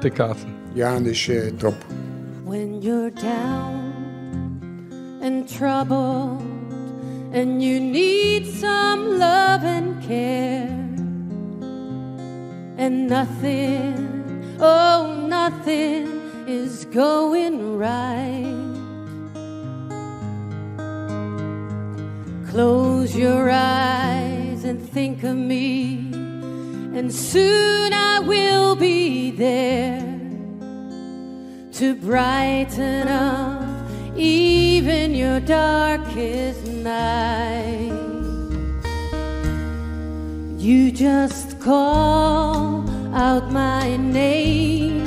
Speaker 1: de kaarten.
Speaker 2: Ja, dus eh, top.
Speaker 10: When you're down and troubled and you need some love and care and nothing, oh, nothing is going right. Close your eyes and think of me, and soon I will be there to brighten up even your darkest night. You just call out my name,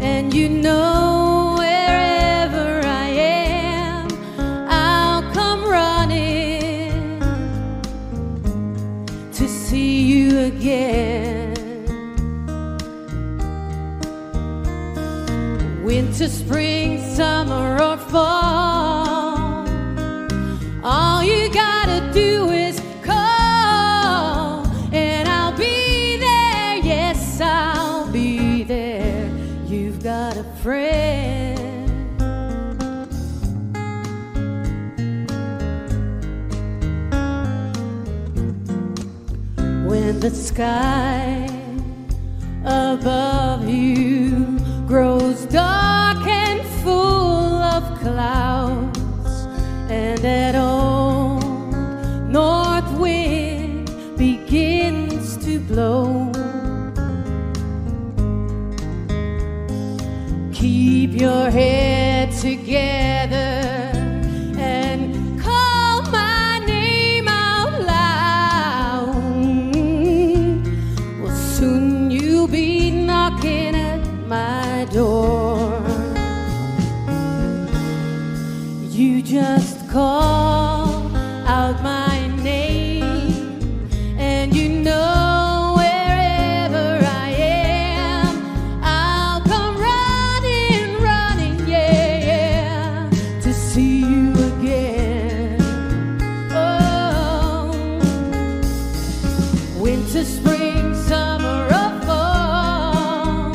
Speaker 10: and you know wherever I winter, spring, summer, or fall. All you gotta do is call, and I'll be there. Yes, I'll be there. You've got a friend. When the sky above you grows dark and full of clouds, and that old north wind begins to blow. Keep your head together. and call my name out loud. Well, soon you'll be knocking at my door. You just call out my name, and you know wherever I am, I'll come running, running, yeah, yeah, to see you again. Oh, winter, spring, summer, or fall.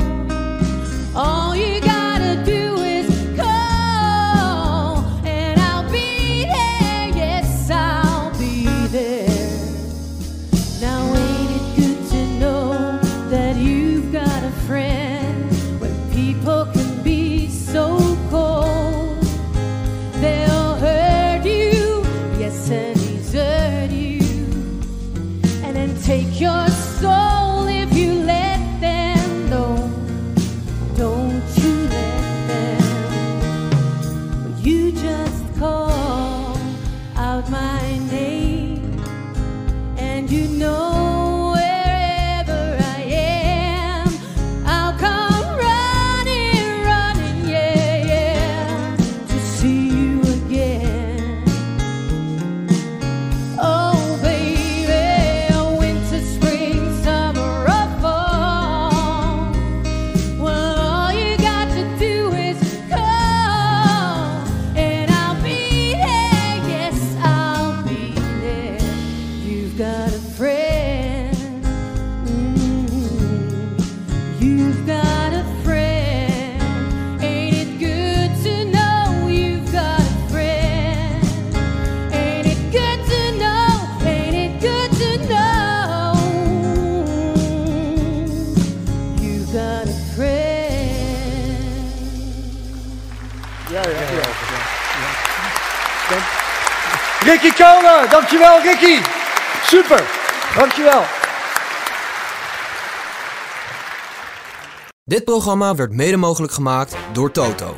Speaker 10: All you gotta do is call, and I'll be there. Yes, I'll be there. Now, ain't it good to know that you've got a friend? When people can be so cold, they'll hurt you, yes, and desert you, and then take your soul if you let them know. Don't you let them. You just call out my name, and you know wherever I am, I'll come running, running, yeah, yeah, to see you again. Oh, baby, winter, spring, summer, or fall. Well, all you got to do is call, and I'll be there. Yes, I'll be there. You've got a friend. Mm, You've got a friend. Ain't it good to know you've got a friend? Ain't it good to know? Ain't it good to know? You got a friend.
Speaker 6: Ja, ja, ja.
Speaker 9: Ricky Kolen, dankjewel Ricky. Super, dankjewel.
Speaker 11: Dit programma werd mede mogelijk gemaakt door Toto.